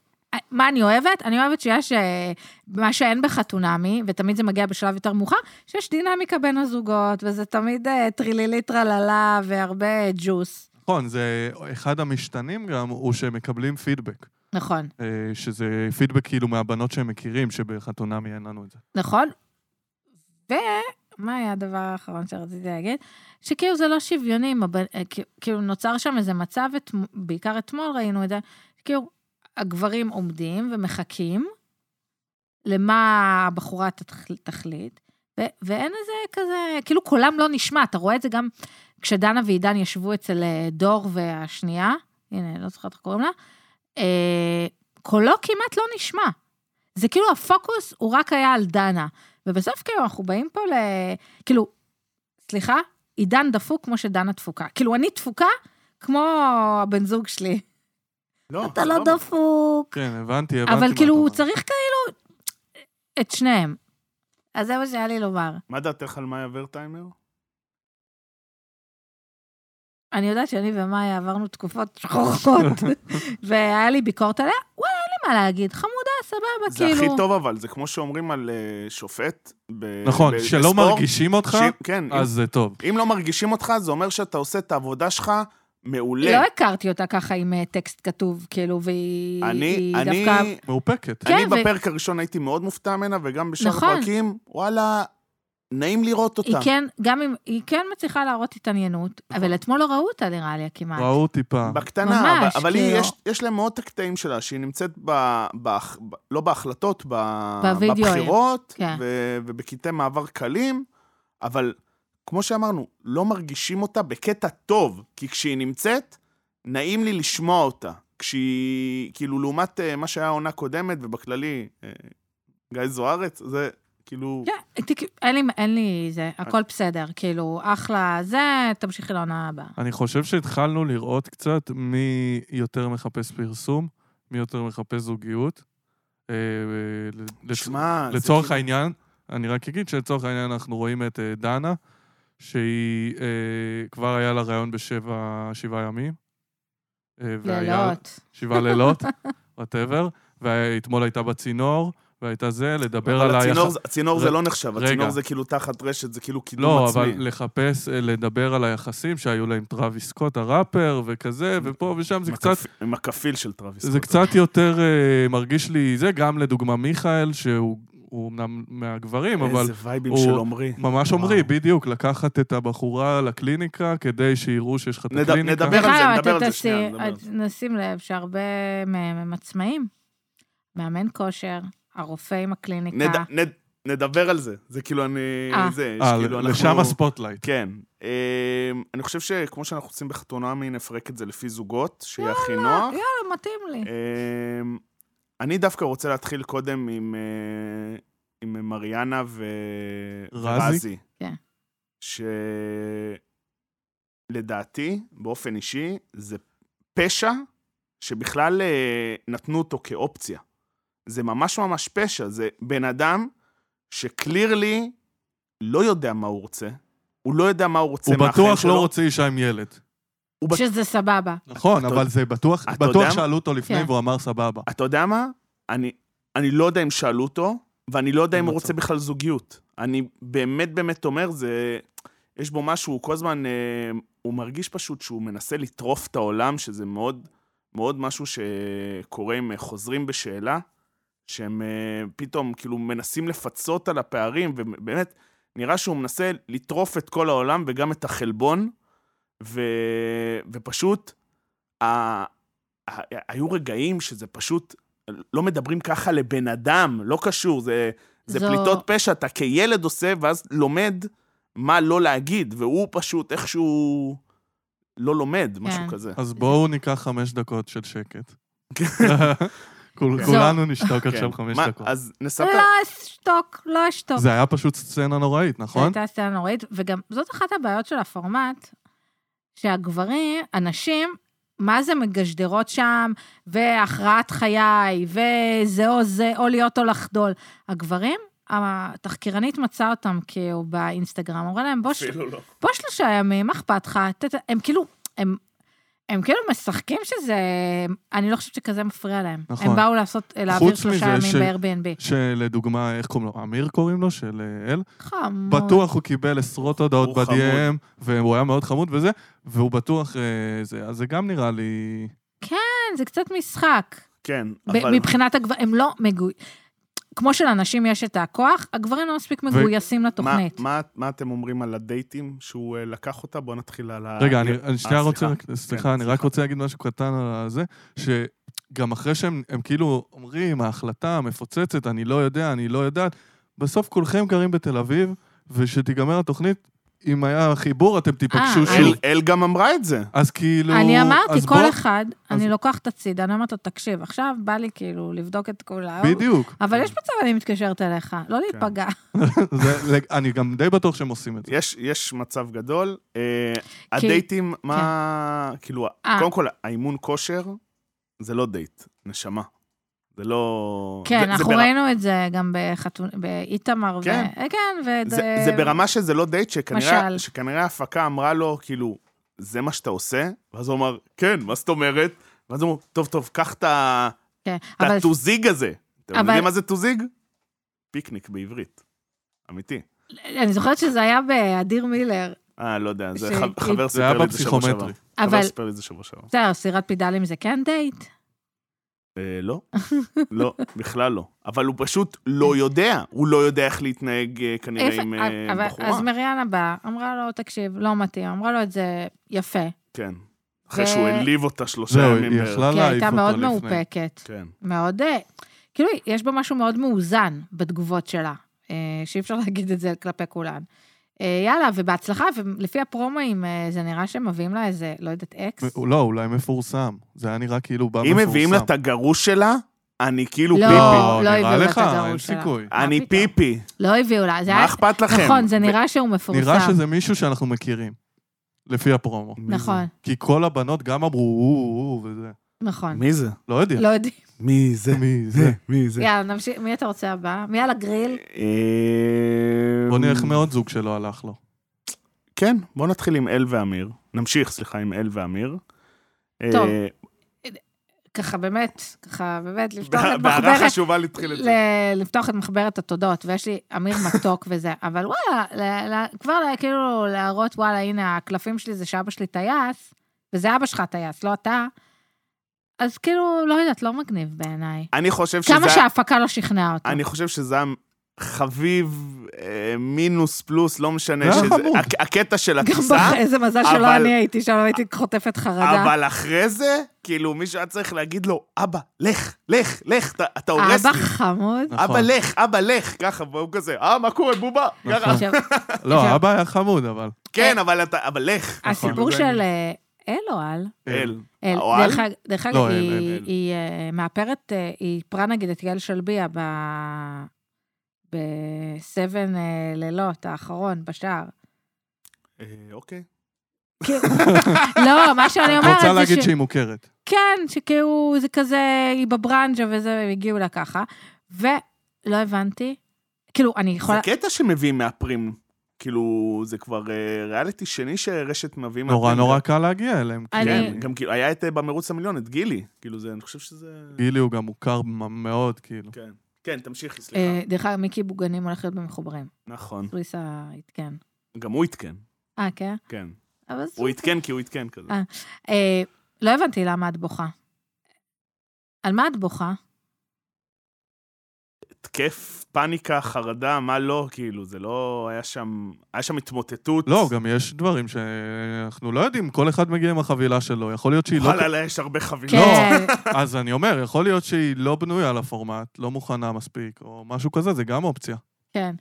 [SPEAKER 3] מה אני אוהבת? אני אוהבת שיש אה, מה שאין בחתונמי, ותמיד זה מגיע בשלב יותר מאוחר, שיש דינמיקה בין הזוגות, וזה תמיד אה, טרילילי טרללה והרבה ג'וס.
[SPEAKER 4] נכון, זה אחד המשתנים גם, הוא שהם מקבלים פידבק.
[SPEAKER 3] נכון,
[SPEAKER 4] אה, שזה פידבק כאילו מהבנות שהם מכירים, שבחתונמי אין לנו את זה.
[SPEAKER 3] נכון? ומה היה הדבר האחרון שרציתי להגיד? שכאילו זה לא שוויוני, עם הבנ- אה, כאילו- כאילו נוצר שם איזה מצב, את... בעיקר אתמול ראינו את זה, כאילו הגברים עומדים ומחכים למה הבחורה תתח- תחליט, ו... ואין איזה כזה, כאילו קולם לא נשמע, אתה רואה את זה גם כשדנה ועידן ישבו אצל אה, דור והשנייה, הנה, לא זוכרת איך קוראים לה, אה, קולו כמעט לא נשמע. זה כאילו הפוקוס הוא רק היה על דנה. ובסוף כאילו אנחנו באים פה ל... כאילו, סליחה, עידן דפוק כמו שדנה דפוקה. כאילו, אני דפוקה כמו הבן זוג שלי.
[SPEAKER 2] לא,
[SPEAKER 3] אתה לא
[SPEAKER 2] סבבה.
[SPEAKER 3] דפוק.
[SPEAKER 4] כן, הבנתי, הבנתי.
[SPEAKER 3] אבל
[SPEAKER 4] מה
[SPEAKER 3] כאילו,
[SPEAKER 4] אתה
[SPEAKER 3] הוא
[SPEAKER 4] אומר.
[SPEAKER 3] צריך כאילו את שניהם. אז זה מה שהיה לי לומר.
[SPEAKER 2] מה דעתך על מאיה ורטהיימר?
[SPEAKER 3] אני יודעת שאני ומאיה עברנו תקופות (laughs) שחורות, והיה לי ביקורת עליה, וואלה, אין לי מה להגיד, חמודה, סבבה,
[SPEAKER 2] זה
[SPEAKER 3] כאילו.
[SPEAKER 2] הכי טוב אבל, זה כמו שאומרים על אה, שופט. ב-
[SPEAKER 4] נכון,
[SPEAKER 2] ב-
[SPEAKER 4] שלא
[SPEAKER 2] בספורט,
[SPEAKER 4] מרגישים אותך,
[SPEAKER 2] ש- כן, אם-
[SPEAKER 4] אז זה טוב.
[SPEAKER 2] אם לא מרגישים אותך, זה אומר שאתה עושה את העבודה שלך מעולה.
[SPEAKER 3] לא הכרתי אותה ככה עם אה, טקסט כתוב, כאילו, והיא
[SPEAKER 2] אני,
[SPEAKER 3] היא
[SPEAKER 2] אני,
[SPEAKER 3] דווקא...
[SPEAKER 4] מאופקת.
[SPEAKER 3] כן,
[SPEAKER 2] אני
[SPEAKER 3] ו-
[SPEAKER 2] בפרק הראשון הייתי מאוד מופתע ממנה, וגם בשאר
[SPEAKER 3] נכון.
[SPEAKER 2] הפרקים, וואלה, נעים לראות אותה. נכון.
[SPEAKER 3] היא כן, גם אם, היא כן מצליחה להראות התעניינות, אבל אתמול לא ראו אותה נראה לי כמעט.
[SPEAKER 4] ראו טיפה.
[SPEAKER 2] בקטנה,
[SPEAKER 3] ממש,
[SPEAKER 2] אבל, אבל היא,
[SPEAKER 3] כאילו.
[SPEAKER 2] יש, יש להם מאוד את הקטעים שלה, שהיא נמצאת ב, ב, ב, לא בהחלטות, ב,
[SPEAKER 3] בווידאוים.
[SPEAKER 2] בבחירות,
[SPEAKER 3] כן.
[SPEAKER 2] ו, ובקטעי מעבר קלים, אבל כמו שאמרנו, לא מרגישים אותה בקטע טוב, כי כשהיא נמצאת, נעים לי לשמוע אותה. כשהיא, כאילו, לעומת אה, מה שהיה העונה קודמת, ובכללי, אה, גיא זוארץ, זה כאילו...
[SPEAKER 3] כן, ת- אין לי, אין לי זה, הכל בסדר, כאילו, אחלה זה, תמשיכי לעונה הבאה.
[SPEAKER 4] אני חושב שהתחלנו לראות קצת מי יותר מחפש פרסום, מי יותר מחפש זוגיות. אה, אה, ל- לצ-
[SPEAKER 2] שמע, זה
[SPEAKER 4] לצורך
[SPEAKER 2] כאילו-
[SPEAKER 4] העניין, אני רק אגיד שלצורך העניין אנחנו רואים את אה, דנה, שהיא, אה, כבר היה לה ראיון בשבע, שבעה ימים. אה, והיה-
[SPEAKER 3] לילות.
[SPEAKER 4] שבעה לילות, וואטאבר. ואתמול הייתה בצינור, והייתה זה, לדבר
[SPEAKER 2] אבל
[SPEAKER 4] על
[SPEAKER 2] הצינור,
[SPEAKER 4] היחס...
[SPEAKER 2] זה- הצינור זה
[SPEAKER 4] רגע.
[SPEAKER 2] לא נחשב, הצינור זה כאילו תחת רשת, זה כאילו קידום
[SPEAKER 4] לא,
[SPEAKER 2] עצמי.
[SPEAKER 4] אבל לחפש, אה, לדבר על היחסים שהיו לה עם טראביס סקוט, הראפר, וכזה, ופה ושם, זה
[SPEAKER 2] עם
[SPEAKER 4] קצת...
[SPEAKER 2] הכפ- עם הכפיל של טרוויס.
[SPEAKER 4] זה
[SPEAKER 2] סקוט.
[SPEAKER 4] קצת יותר אה, מרגיש לי זה, גם לדוגמה מיכאל, שהוא הוא אמנם מהגברים, אבל
[SPEAKER 2] איזה וייבים
[SPEAKER 4] הוא-
[SPEAKER 2] של עומרי.
[SPEAKER 4] ממש
[SPEAKER 2] וואו.
[SPEAKER 4] עומרי, בדיוק, לקחת את הבחורה לקליניקה כדי שיראו שיש לך את
[SPEAKER 2] נד-
[SPEAKER 4] הקליניקה.
[SPEAKER 2] נדבר על זה,
[SPEAKER 3] בכלל,
[SPEAKER 2] נדבר
[SPEAKER 3] אתה
[SPEAKER 2] על זה שנייה,
[SPEAKER 3] תשים-
[SPEAKER 2] נדבר על
[SPEAKER 3] את- נשים לב שהרבה מהם הם עצמאים. מאמן כושר, הרופא עם הקליניקה.
[SPEAKER 2] נד- נד- נדבר על זה. זה כאילו אני...
[SPEAKER 3] אה.
[SPEAKER 2] זה,
[SPEAKER 4] אה,
[SPEAKER 2] שכאילו אנחנו...
[SPEAKER 4] לשם הספוטלייט.
[SPEAKER 2] כן. אה, אני חושב שכמו שאנחנו עושים בחתונמי, נפרק את זה לפי זוגות, שיהיה הכי נוח.
[SPEAKER 3] יאללה, מתאים לי.
[SPEAKER 2] אמ, אני דווקא רוצה להתחיל קודם עם, אה, עם מריאנה ו...
[SPEAKER 4] רזי?
[SPEAKER 2] ורזי.
[SPEAKER 3] כן.
[SPEAKER 2] שלדעתי, באופן אישי, זה פשע שבכלל אה, נתנו אותו כאופציה. זה ממש ממש פשע. זה בן אדם שקלירלי לא יודע מה הוא רוצה. הוא לא יודע מה הוא רוצה
[SPEAKER 4] הוא
[SPEAKER 2] מהחיים
[SPEAKER 4] בטוח
[SPEAKER 2] שלו.
[SPEAKER 4] לא רוצה אישה עם ילד.
[SPEAKER 2] הוא בט-
[SPEAKER 3] שזה סבבה.
[SPEAKER 4] נכון,
[SPEAKER 2] אתה-
[SPEAKER 4] אבל זה בטוח,
[SPEAKER 2] אתה יודע
[SPEAKER 4] בטוח
[SPEAKER 2] מה?
[SPEAKER 4] שאלו אותו לפני
[SPEAKER 3] כן.
[SPEAKER 4] והוא אמר סבבה.
[SPEAKER 2] אתה יודע מה? אני, אני לא יודע אם שאלו אותו, ואני לא יודע אם הוא
[SPEAKER 4] מצב.
[SPEAKER 2] רוצה בכלל זוגיות. אני באמת באמת אומר, זה... יש בו משהו, הוא כל הזמן... אה, הוא מרגיש פשוט שהוא מנסה לטרוף את העולם, שזה מאוד, מאוד משהו שקורה עם אה, חוזרים בשאלה, שהם אה, פתאום כאילו מנסים לפצות על הפערים, ובאמת, נראה שהוא מנסה לטרוף את כל העולם וגם את החלבון, ו... ופשוט, ה... ה- היו רגעים שזה פשוט, לא מדברים ככה לבן אדם, לא קשור, זה, זה
[SPEAKER 3] זו-
[SPEAKER 2] פליטות פשע, אתה כילד עושה, ואז לומד מה לא להגיד, והוא פשוט איכשהו לא לומד, משהו
[SPEAKER 3] כן.
[SPEAKER 2] כזה.
[SPEAKER 4] אז בואו ניקח חמש דקות של שקט.
[SPEAKER 2] כן.
[SPEAKER 4] (laughs) כול-
[SPEAKER 2] כן.
[SPEAKER 4] כולנו נשתוק עכשיו
[SPEAKER 2] כן.
[SPEAKER 4] חמש
[SPEAKER 2] מה,
[SPEAKER 4] דקות.
[SPEAKER 2] אז נספר.
[SPEAKER 3] לא אשתוק, לא אשתוק.
[SPEAKER 4] זה היה פשוט סצנה נוראית,
[SPEAKER 3] זו
[SPEAKER 4] נכון?
[SPEAKER 3] הייתה סצנה נוראית, וגם זאת אחת הבעיות של הפורמט, שהגברים, הנשים, מה זה מגשדרות שם, והכרעת חיי, וזה או זה, או להיות או לחדול. הגברים, התחקירנית מצאה אותם כאילו באינסטגרם, אמרה להם, בוא, ש...
[SPEAKER 2] אפילו לא.
[SPEAKER 3] בוא שלושה ימים, מה אכפת לך? ת- ת- הם כאילו, הם, הם כאילו משחקים שזה, אני לא חושבת שכזה מפריע להם.
[SPEAKER 4] נכון.
[SPEAKER 3] הם באו לעשות, להעביר
[SPEAKER 4] חוץ
[SPEAKER 3] שלושה
[SPEAKER 4] מזה
[SPEAKER 3] ימים
[SPEAKER 4] ש-
[SPEAKER 3] ב-Airbnb.
[SPEAKER 4] שלדוגמה, איך קוראים לו? אמיר קוראים לו? של אה, אל?
[SPEAKER 3] חמוד.
[SPEAKER 4] בטוח הוא קיבל עשרות הודעות
[SPEAKER 2] הוא
[SPEAKER 4] ב-DM, והוא היה מאוד חמוד וזה, והוא בטוח... אה, זה, אז זה גם נראה לי...
[SPEAKER 3] כן, זה קצת משחק.
[SPEAKER 2] כן,
[SPEAKER 3] ב-
[SPEAKER 2] אבל...
[SPEAKER 3] מבחינת הגברים, הם לא מגו... כמו שלאנשים יש את הכוח, הגברים לא מספיק מגויסים
[SPEAKER 2] מה,
[SPEAKER 3] לתוכנית.
[SPEAKER 2] מה, מה אתם אומרים על הדייטים שהוא אה, לקח אותה? בואו נתחיל על ה...
[SPEAKER 4] רגע,
[SPEAKER 2] אה,
[SPEAKER 4] אני אני שנייה
[SPEAKER 2] אה,
[SPEAKER 4] רוצה...
[SPEAKER 2] סליחה.
[SPEAKER 4] רק- סליחה, אני רק
[SPEAKER 2] סליחה.
[SPEAKER 4] רוצה להגיד משהו קטן על זה, שגם אחרי שהם הם כאילו אומרים, ההחלטה מפוצצת, אני לא יודע, אני לא יודעת, בסוף כולכם גרים בתל אביב, ושתיגמר התוכנית, אם היה חיבור, אתם תיפגשו
[SPEAKER 3] אה,
[SPEAKER 4] שוב.
[SPEAKER 2] אל, אל גם אמרה את זה.
[SPEAKER 4] אז
[SPEAKER 2] לא,
[SPEAKER 4] כאילו...
[SPEAKER 3] אני אמרתי,
[SPEAKER 4] אז
[SPEAKER 3] כל
[SPEAKER 4] בוא-
[SPEAKER 3] אחד,
[SPEAKER 4] אז-
[SPEAKER 3] אני לוקחת הצידה, אני אומרת לו, תקשיב, עכשיו בא לי כאילו לבדוק את כולם.
[SPEAKER 4] בדיוק.
[SPEAKER 3] אבל יש מצב אני מתקשרת אליך,
[SPEAKER 2] כן.
[SPEAKER 3] לא להיפגע.
[SPEAKER 4] (laughs) זה- אני גם די בטוח שהם עושים את זה.
[SPEAKER 2] יש, יש מצב גדול. אה,
[SPEAKER 3] כי-
[SPEAKER 2] הדייטים, מה... כאילו,
[SPEAKER 3] אה.
[SPEAKER 2] קודם כל, האימון כושר זה לא דייט, נשמה. זה לא... זה-
[SPEAKER 3] כן,
[SPEAKER 2] זה
[SPEAKER 3] אנחנו
[SPEAKER 2] ברמה-
[SPEAKER 3] ראינו את זה גם בחתונה, באיתמר, ו-
[SPEAKER 2] כן.
[SPEAKER 3] אה, כן, ו...
[SPEAKER 2] זה, זה ברמה שזה לא דייט,
[SPEAKER 3] משל.
[SPEAKER 2] שכנראה, שכנראה ההפקה אמרה לו, כאילו, זה מה שאתה עושה? ואז הוא אמר, כן, מה זאת אומרת? ואז הוא אמר, טוב, טוב, קח את ה-
[SPEAKER 3] כן,
[SPEAKER 2] את
[SPEAKER 3] אבל-
[SPEAKER 2] הטוזיג הזה. אתם
[SPEAKER 3] אבל-
[SPEAKER 2] יודעים מה זה טוזיג? פיקניק בעברית. אמיתי.
[SPEAKER 3] אני זוכרת שזה היה באדיר מילר.
[SPEAKER 2] אה, לא יודע, זה
[SPEAKER 3] ש-
[SPEAKER 2] ח- חבר
[SPEAKER 4] זה היה
[SPEAKER 2] סיפר לי את זה שבוע שעבר.
[SPEAKER 4] בפסיכומטרי.
[SPEAKER 2] חבר
[SPEAKER 3] אבל,
[SPEAKER 2] סיפר לא לי את זה שבוע שעבר.
[SPEAKER 3] בסדר, סירת פידלים זה כן דייט?
[SPEAKER 2] אה, לא, (laughs) לא, בכלל לא. אבל הוא פשוט לא יודע. הוא לא יודע איך להתנהג אה, כנראה
[SPEAKER 3] איפה-
[SPEAKER 2] עם אה,
[SPEAKER 3] אבל-
[SPEAKER 2] בחורה.
[SPEAKER 3] אז מריאנה באה, אמרה לו, תקשיב, לא מתאים, אמרה לו את זה יפה.
[SPEAKER 2] כן. אחרי
[SPEAKER 3] ו-
[SPEAKER 2] שהוא העליב אותה שלושה
[SPEAKER 4] זהו,
[SPEAKER 2] ימים
[SPEAKER 4] כן, היא
[SPEAKER 2] בערך.
[SPEAKER 4] יכלה
[SPEAKER 3] כי
[SPEAKER 4] לא להעיף
[SPEAKER 3] הייתה מאוד
[SPEAKER 4] אותו לפני.
[SPEAKER 3] מאופקת.
[SPEAKER 2] כן.
[SPEAKER 3] מאוד... אה, כאילו, יש בה משהו מאוד מאוזן בתגובות שלה, אה, שאי אפשר (laughs) להגיד את זה כלפי כולן. אה, יאללה, ובהצלחה, ולפי הפרומואים, אה, זה נראה שהם מביאים לה איזה, לא יודעת, אקס.
[SPEAKER 4] לא, אולי מפורסם. זה היה נראה כאילו הוא בא
[SPEAKER 2] אם
[SPEAKER 4] מפורסם.
[SPEAKER 2] מביאים לה את הגרוש שלה, אני כאילו
[SPEAKER 3] לא,
[SPEAKER 2] פיפי.
[SPEAKER 4] לא,
[SPEAKER 3] לא
[SPEAKER 4] נראה
[SPEAKER 3] הביאו לה את
[SPEAKER 4] לך, אין
[SPEAKER 3] הגרוש שלה.
[SPEAKER 4] סיכוי.
[SPEAKER 3] מה
[SPEAKER 2] אני
[SPEAKER 3] פתאום?
[SPEAKER 2] פיפי.
[SPEAKER 3] לא הביאו לה, זה
[SPEAKER 2] מה
[SPEAKER 3] היה...
[SPEAKER 2] אכפת לכם?
[SPEAKER 3] נכון, זה
[SPEAKER 2] ו-
[SPEAKER 3] נראה שהוא מפורסם.
[SPEAKER 4] נראה שזה מישהו שאנחנו מכירים, לפי הפרומו.
[SPEAKER 3] נכון,
[SPEAKER 4] כי כל הבנות גם אמרו, "או, או, או", וזה.
[SPEAKER 3] נכון.
[SPEAKER 2] מי זה?
[SPEAKER 4] לא יודע.
[SPEAKER 3] לא יודעים.
[SPEAKER 2] מי זה?
[SPEAKER 4] מי זה?
[SPEAKER 2] מי זה?
[SPEAKER 3] יאללה, נמשיך, מי אתה רוצה הבא? מי על הגריל?
[SPEAKER 2] אה,
[SPEAKER 4] בוא נראה איך מאוד זוג שלא הלך לו.
[SPEAKER 2] כן, בוא נתחיל עם אל ואמיר. נמשיך, סליחה, עם אל ואמיר. אה,
[SPEAKER 3] טוב, ככה באמת, ככה
[SPEAKER 2] (laughs)
[SPEAKER 3] באמת, לפתוח את
[SPEAKER 2] בהערה
[SPEAKER 3] מחברת
[SPEAKER 2] חשובה להתחיל את זה.
[SPEAKER 3] ל- לפתוח את מחברת התודות, ויש לי אמיר מתוק (laughs) וזה, אבל וואלה, ל- ל- כבר ל- כאילו להראות, וואלה, הנה, הקלפים שלי זה שאבא שלי טייס, וזה אבא שלך טייס, לא אתה. אז כאילו, לא יודעת, לא מגניב בעיניי.
[SPEAKER 2] אני חושב שזה...
[SPEAKER 3] כמה שההפקה לא שכנעה אותו.
[SPEAKER 2] אני חושב שזה היה חביב אה, מינוס פלוס, לא
[SPEAKER 4] זה
[SPEAKER 2] משנה.
[SPEAKER 4] היה
[SPEAKER 2] שזה-
[SPEAKER 4] חמוד.
[SPEAKER 2] הק- הקטע של
[SPEAKER 3] גם
[SPEAKER 2] הטיסה,
[SPEAKER 3] בח- איזה מזל שלא
[SPEAKER 2] אבל-
[SPEAKER 3] אני הייתי שם, הייתי חוטפת חרדה.
[SPEAKER 2] אבל אחרי זה, כאילו, מישהו היה צריך להגיד לו, אבא, לך, לך, לך, אתה- אתה הורס
[SPEAKER 3] אבא
[SPEAKER 2] לי.
[SPEAKER 3] חמוד.
[SPEAKER 4] נכון.
[SPEAKER 2] אבא, לך, אבא, לך, ככה, והוא כזה, אה, מה קורה, בובה? ככה,
[SPEAKER 4] נכון.
[SPEAKER 3] עכשיו,
[SPEAKER 4] לא,
[SPEAKER 3] עכשיו-
[SPEAKER 4] האבא היה חמוד, אבל.
[SPEAKER 3] אוקיי.
[SPEAKER 2] כן, אבל אתה, אבל לך.
[SPEAKER 3] הסיפור
[SPEAKER 4] זה
[SPEAKER 3] של אה, אל או על?
[SPEAKER 2] אל.
[SPEAKER 3] אל,
[SPEAKER 2] או
[SPEAKER 3] דרך
[SPEAKER 2] אל?
[SPEAKER 3] אג- דרך אגב,
[SPEAKER 4] לא, אל,
[SPEAKER 3] היא,
[SPEAKER 4] אל, אל.
[SPEAKER 3] היא אה, מאפרת, אה, היא איפרה נגיד את יעל שלביה ב... בסבן אה, לילות האחרון, בשער.
[SPEAKER 2] אה, אוקיי.
[SPEAKER 4] (laughs)
[SPEAKER 3] כאילו- לא, מה שאני
[SPEAKER 4] את
[SPEAKER 3] אומרת
[SPEAKER 4] רוצה
[SPEAKER 3] זה
[SPEAKER 4] להגיד
[SPEAKER 3] ש...
[SPEAKER 4] שהיא מוכרת.
[SPEAKER 3] כן, שכאילו זה כזה, היא בברנז'ה וזה, הם הגיעו לה ככה. ולא הבנתי, כאילו, אני
[SPEAKER 2] זה
[SPEAKER 3] יכולה...
[SPEAKER 2] קטע שמביאים מהפרים. כאילו, זה כבר אה, ריאליטי שני שרשת מביאים...
[SPEAKER 4] נורא
[SPEAKER 2] מהטינדר.
[SPEAKER 4] נורא קל להגיע אליהם. כי
[SPEAKER 3] אני-
[SPEAKER 2] כן, גם כאילו, היה את אה, במרוץ המיליון, את גילי. כאילו, זה, אני חושב שזה...
[SPEAKER 4] גילי הוא גם מוכר מ- מאוד, כאילו.
[SPEAKER 2] כן. כן, תמשיכי, סליחה.
[SPEAKER 3] אה, דרך אגב, מיקי בוגנים הולך להיות במחוברים.
[SPEAKER 2] נכון.
[SPEAKER 3] סוויסה עדכן.
[SPEAKER 2] גם הוא עדכן,
[SPEAKER 3] אה, כן?
[SPEAKER 2] כן.
[SPEAKER 3] אבל זה...
[SPEAKER 2] הוא עדכן כי הוא עדכן כזה.
[SPEAKER 3] אה. אה, לא הבנתי למה את בוכה. על מה את בוכה?
[SPEAKER 2] התקף, פאניקה, חרדה, מה לא, כאילו, זה לא... היה שם... היה שם התמוטטות.
[SPEAKER 4] לא, גם יש דברים שאנחנו לא יודעים, כל אחד מגיע עם החבילה שלו, יכול להיות שהיא לא...
[SPEAKER 2] וואלה, לא. יש הרבה חבילות.
[SPEAKER 3] כן,
[SPEAKER 4] אז אני אומר, יכול להיות שהיא לא בנויה לפורמט, לא מוכנה מספיק, או משהו כזה, זה גם אופציה.
[SPEAKER 3] כן.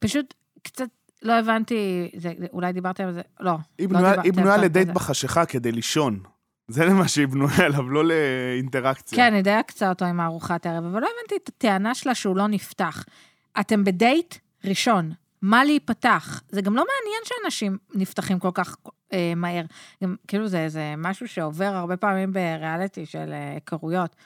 [SPEAKER 3] פשוט קצת לא הבנתי, זה- זה- אולי דיברתם על זה, לא.
[SPEAKER 2] היא
[SPEAKER 3] לא
[SPEAKER 2] בנויה-
[SPEAKER 3] דיברתם
[SPEAKER 2] היא בנויה
[SPEAKER 3] על זה.
[SPEAKER 2] לדייט בחשיכה כדי לישון. זה למה שהיא בנויה עליו, לא לאינטראקציה.
[SPEAKER 3] כן, אני די אקצה אותו עם ארוחת הערב, אבל לא הבנתי את הטענה שלה שהוא לא נפתח. אתם בדייט ראשון, מה להיפתח? זה גם לא מעניין שאנשים נפתחים כל כך אה, מהר. גם, כאילו, זה, זה משהו שעובר הרבה פעמים בריאליטי של אה, היכרויות.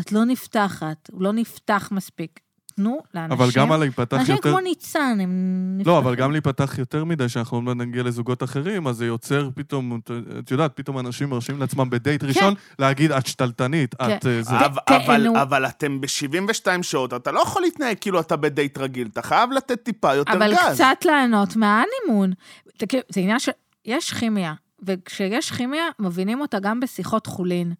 [SPEAKER 3] את לא נפתחת, הוא לא נפתח מספיק. תנו לאנשים...
[SPEAKER 4] אבל גם על להיפתח
[SPEAKER 3] אנשים
[SPEAKER 4] יותר...
[SPEAKER 3] כמו ניצן, הם נפתחים.
[SPEAKER 4] לא, אבל גם להיפתח יותר מדי, שאנחנו עוד מעט נגיע לזוגות אחרים, אז זה יוצר פתאום, את- את יודעת, פתאום אנשים מרשים לעצמם
[SPEAKER 3] כן.
[SPEAKER 4] בדייט ראשון להגיד, את שתלטנית, את אה, זה.
[SPEAKER 2] אבל,
[SPEAKER 3] ת-
[SPEAKER 2] אבל,
[SPEAKER 3] תהנו.
[SPEAKER 2] אבל אתם ב-72 שעות, אתה לא יכול להתנהג כאילו אתה בדייט רגיל, אתה חייב לתת טיפה יותר
[SPEAKER 3] אבל
[SPEAKER 2] גז.
[SPEAKER 3] קצת ליהנות מההנימון. תקשיב, זה עניין של... יש כימיה, וכשיש כימיה, מבינים אותה גם בשיחות חולין.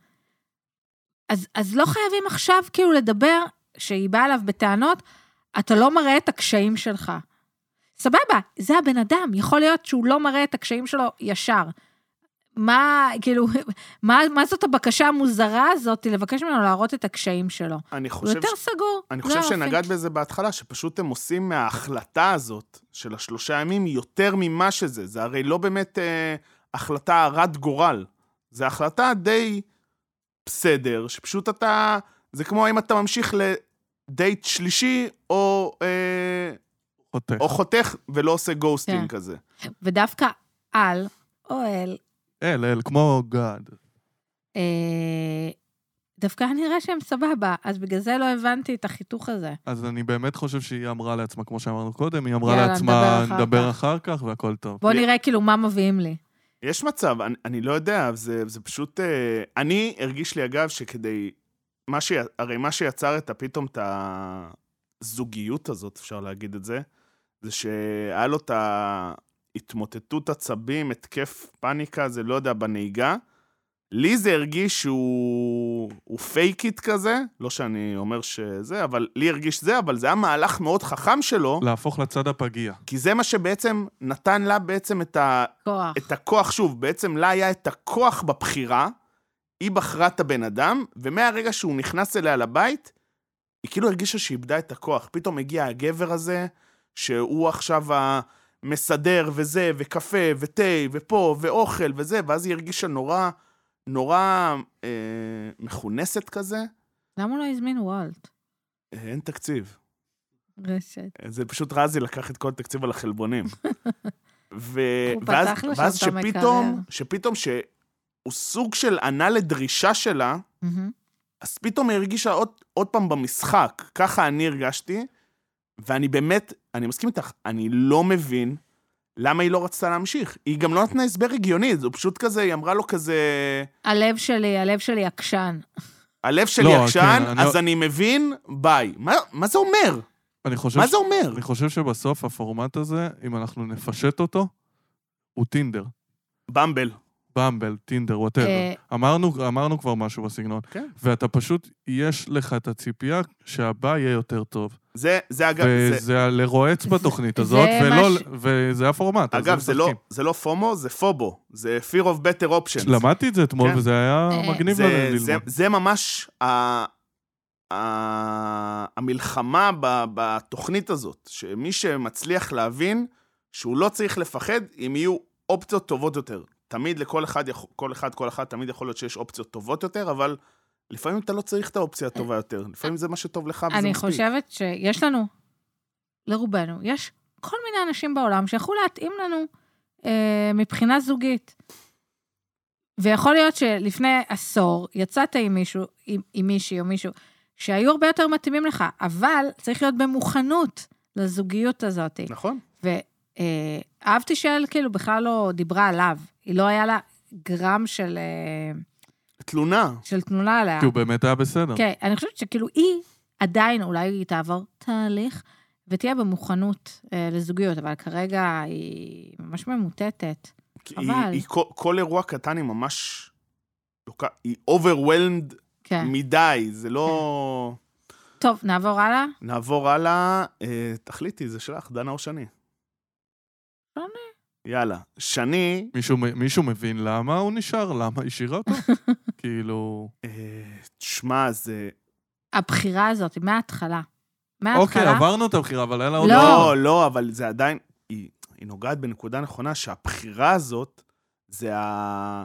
[SPEAKER 3] אז, אז לא חייבים עכשיו כאילו לדבר שהיא באה אליו בטענות, אתה לא מראה את הקשיים שלך. סבבה, זה הבן אדם, יכול להיות שהוא לא מראה את הקשיים שלו ישר. מה, כאילו, (laughs) מה, מה זאת הבקשה המוזרה הזאת לבקש ממנו להראות את הקשיים שלו?
[SPEAKER 2] אני
[SPEAKER 3] הוא
[SPEAKER 2] חושב,
[SPEAKER 3] יותר סגור.
[SPEAKER 2] אני
[SPEAKER 3] זה
[SPEAKER 2] חושב
[SPEAKER 3] האופי.
[SPEAKER 2] שנגעת בזה בהתחלה, שפשוט הם עושים מההחלטה הזאת של השלושה ימים יותר ממה שזה. זה הרי לא באמת אה, החלטה הרת גורל. זו החלטה די בסדר, שפשוט אתה... זה כמו אם אתה ממשיך לדייט שלישי, או, אה,
[SPEAKER 4] חותך.
[SPEAKER 2] או חותך ולא עושה גוסטינג
[SPEAKER 3] כן.
[SPEAKER 2] כזה.
[SPEAKER 3] ודווקא על, אוהל,
[SPEAKER 4] אל, אל, כמו גאד.
[SPEAKER 3] אה, דווקא היה נראה שהם סבבה, אז בגלל זה לא הבנתי את החיתוך הזה.
[SPEAKER 4] אז אני באמת חושב שהיא אמרה לעצמה, כמו שאמרנו קודם, היא אמרה
[SPEAKER 3] יאללה,
[SPEAKER 4] לעצמה,
[SPEAKER 3] נדבר אחר
[SPEAKER 4] נדבר
[SPEAKER 3] כך."
[SPEAKER 4] אחר כך והכל טוב.
[SPEAKER 3] בואו
[SPEAKER 2] לי-
[SPEAKER 3] נראה כאילו מה מביאים לי.
[SPEAKER 2] יש מצב, אני, אני לא יודע, זה, זה פשוט... אה, אני, הרגיש לי, אגב, שכדי... מה ש... הרי מה שיצר את הפתאום את הזוגיות הזאת, אפשר להגיד את זה, זה שהיה לו את ההתמוטטות עצבים, התקף פאניקה, זה לא יודע, בנהיגה. לי זה הרגיש שהוא הוא פייקית כזה, לא שאני אומר שזה, אבל לי הרגיש זה, אבל זה היה מהלך מאוד חכם שלו,
[SPEAKER 4] להפוך לצד הפגיע.
[SPEAKER 2] כי זה מה שבעצם נתן לה בעצם את ה...
[SPEAKER 3] כוח.
[SPEAKER 2] את הכוח, שוב, בעצם לה היה את הכוח בבחירה, היא בחרה את הבן אדם, ומהרגע שהוא נכנס אליה לבית, היא כאילו הרגישה שהיא איבדה את הכוח. פתאום הגיע הגבר הזה, שהוא עכשיו המסדר וזה, וקפה, ותה, ופה, ואוכל, וזה, ואז היא הרגישה נורא, נורא אה, מכונסת כזה.
[SPEAKER 3] למה הוא לא הזמין וולט?
[SPEAKER 2] אה, אין תקציב.
[SPEAKER 3] רשת.
[SPEAKER 2] זה פשוט רזי לקח את כל התקציב על
[SPEAKER 3] (laughs)
[SPEAKER 2] החלבונים. ו...
[SPEAKER 3] הוא
[SPEAKER 2] ואז,
[SPEAKER 3] פתח לו שם
[SPEAKER 2] ואז
[SPEAKER 3] את המקרר.
[SPEAKER 2] שפתאום, שפתאום שהוא סוג של ענה לדרישה שלה,
[SPEAKER 3] מהמם.
[SPEAKER 2] אז פתאום היא הרגישה עוד, עוד פעם במשחק. ככה אני הרגשתי, ואני באמת, אני מסכים איתך, אני לא מבין למה היא לא רצתה להמשיך. היא גם לא נתנה הסבר הגיוני, זה פשוט כזה, היא אמרה לו כזה,
[SPEAKER 3] הלב שלי, הלב שלי עקשן.
[SPEAKER 2] הלב שלי
[SPEAKER 4] לא,
[SPEAKER 2] עקשן,
[SPEAKER 4] כן, אני-
[SPEAKER 2] אז אני מבין, ביי. מה, מה זה אומר?
[SPEAKER 4] אני חושב
[SPEAKER 2] מה
[SPEAKER 4] ש-
[SPEAKER 2] זה אומר?
[SPEAKER 4] אני חושב שבסוף הפורמט הזה, אם אנחנו נפשט אותו, הוא טינדר.
[SPEAKER 2] במבל.
[SPEAKER 4] במבל, טינדר, וואטאבר.
[SPEAKER 3] אה.
[SPEAKER 4] אמרנו, אמרנו כבר משהו בסגנון.
[SPEAKER 2] כן.
[SPEAKER 4] ואתה פשוט, יש לך את הציפייה שהבא יהיה יותר טוב.
[SPEAKER 2] זה, זה אגב, זה...
[SPEAKER 4] וזה לרועץ
[SPEAKER 3] (laughs)
[SPEAKER 4] בתוכנית
[SPEAKER 3] זה
[SPEAKER 4] הזאת,
[SPEAKER 3] מה
[SPEAKER 4] ולא-
[SPEAKER 3] ש-
[SPEAKER 4] וזה הפורמט. אז
[SPEAKER 2] אגב, זה לא,
[SPEAKER 4] משחקים.
[SPEAKER 2] זה לא פומו, זה פובו. זה fear of better options.
[SPEAKER 4] למדתי את זה אתמול,
[SPEAKER 2] כן.
[SPEAKER 4] וזה היה
[SPEAKER 3] אה.
[SPEAKER 4] מגניב
[SPEAKER 2] זה,
[SPEAKER 4] ל-
[SPEAKER 2] זה,
[SPEAKER 4] ללמוד.
[SPEAKER 2] זה ממש ה, ה, המלחמה ב, בתוכנית הזאת, שמי שמצליח להבין שהוא לא צריך לפחד אם יהיו אופציות טובות יותר. תמיד לכל אחד, יכול- כל אחד, כל אחד, תמיד יכול להיות שיש אופציות טובות יותר, אבל לפעמים אתה לא צריך את האופציה הטובה יותר. לפעמים זה מה שטוב לך וזה
[SPEAKER 3] אני
[SPEAKER 2] מספיק.
[SPEAKER 3] חושבת שיש לנו, לרובנו, יש כל מיני אנשים בעולם שיכול להתאים לנו אה, מבחינה זוגית. ויכול להיות שלפני עשור יצאת עם מישהו, עם, עם מישהי או מישהו, שהיו הרבה יותר מתאימים לך, אבל צריך להיות במוכנות לזוגיות הזאת.
[SPEAKER 2] נכון.
[SPEAKER 3] ו- אה, אהבתי שיעל כאילו בכלל לא דיברה עליו. היא לא היה לה גרם של, אה,
[SPEAKER 2] תלונה.
[SPEAKER 3] של תנונה עליה.
[SPEAKER 4] כי הוא באמת היה בסדר.
[SPEAKER 3] כן, אני חושבת שכאילו היא עדיין, אולי היא תעבור תהליך ותהיה במוכנות אה, לזוגיות, אבל כרגע היא ממש ממוטטת.
[SPEAKER 2] כי
[SPEAKER 3] אבל-
[SPEAKER 2] היא, היא, כל, כל אירוע קטן היא ממש... לוקה- היא overwhelmed
[SPEAKER 3] כן.
[SPEAKER 2] מדי, זה לא...
[SPEAKER 3] טוב, נעבור הלאה.
[SPEAKER 2] נעבור הלאה, אה, תחליטי, זה שלך, דנה או שני.
[SPEAKER 3] שני.
[SPEAKER 2] יאלה. שני,
[SPEAKER 4] מישהו, מ- מישהו מבין למה הוא נשאר, למה היא שירה
[SPEAKER 3] (laughs)
[SPEAKER 4] אותו? כאילו...
[SPEAKER 2] אה, תשמע, זה...
[SPEAKER 3] הבחירה הזאת, מההתחלה. מההתחלה.
[SPEAKER 4] אוקיי, עברנו את הבחירה, אבל היה לה עוד...
[SPEAKER 3] לא.
[SPEAKER 2] לא, לא, אבל זה עדיין... היא, היא נוגעת בנקודה נכונה, שהבחירה הזאת, זה ה...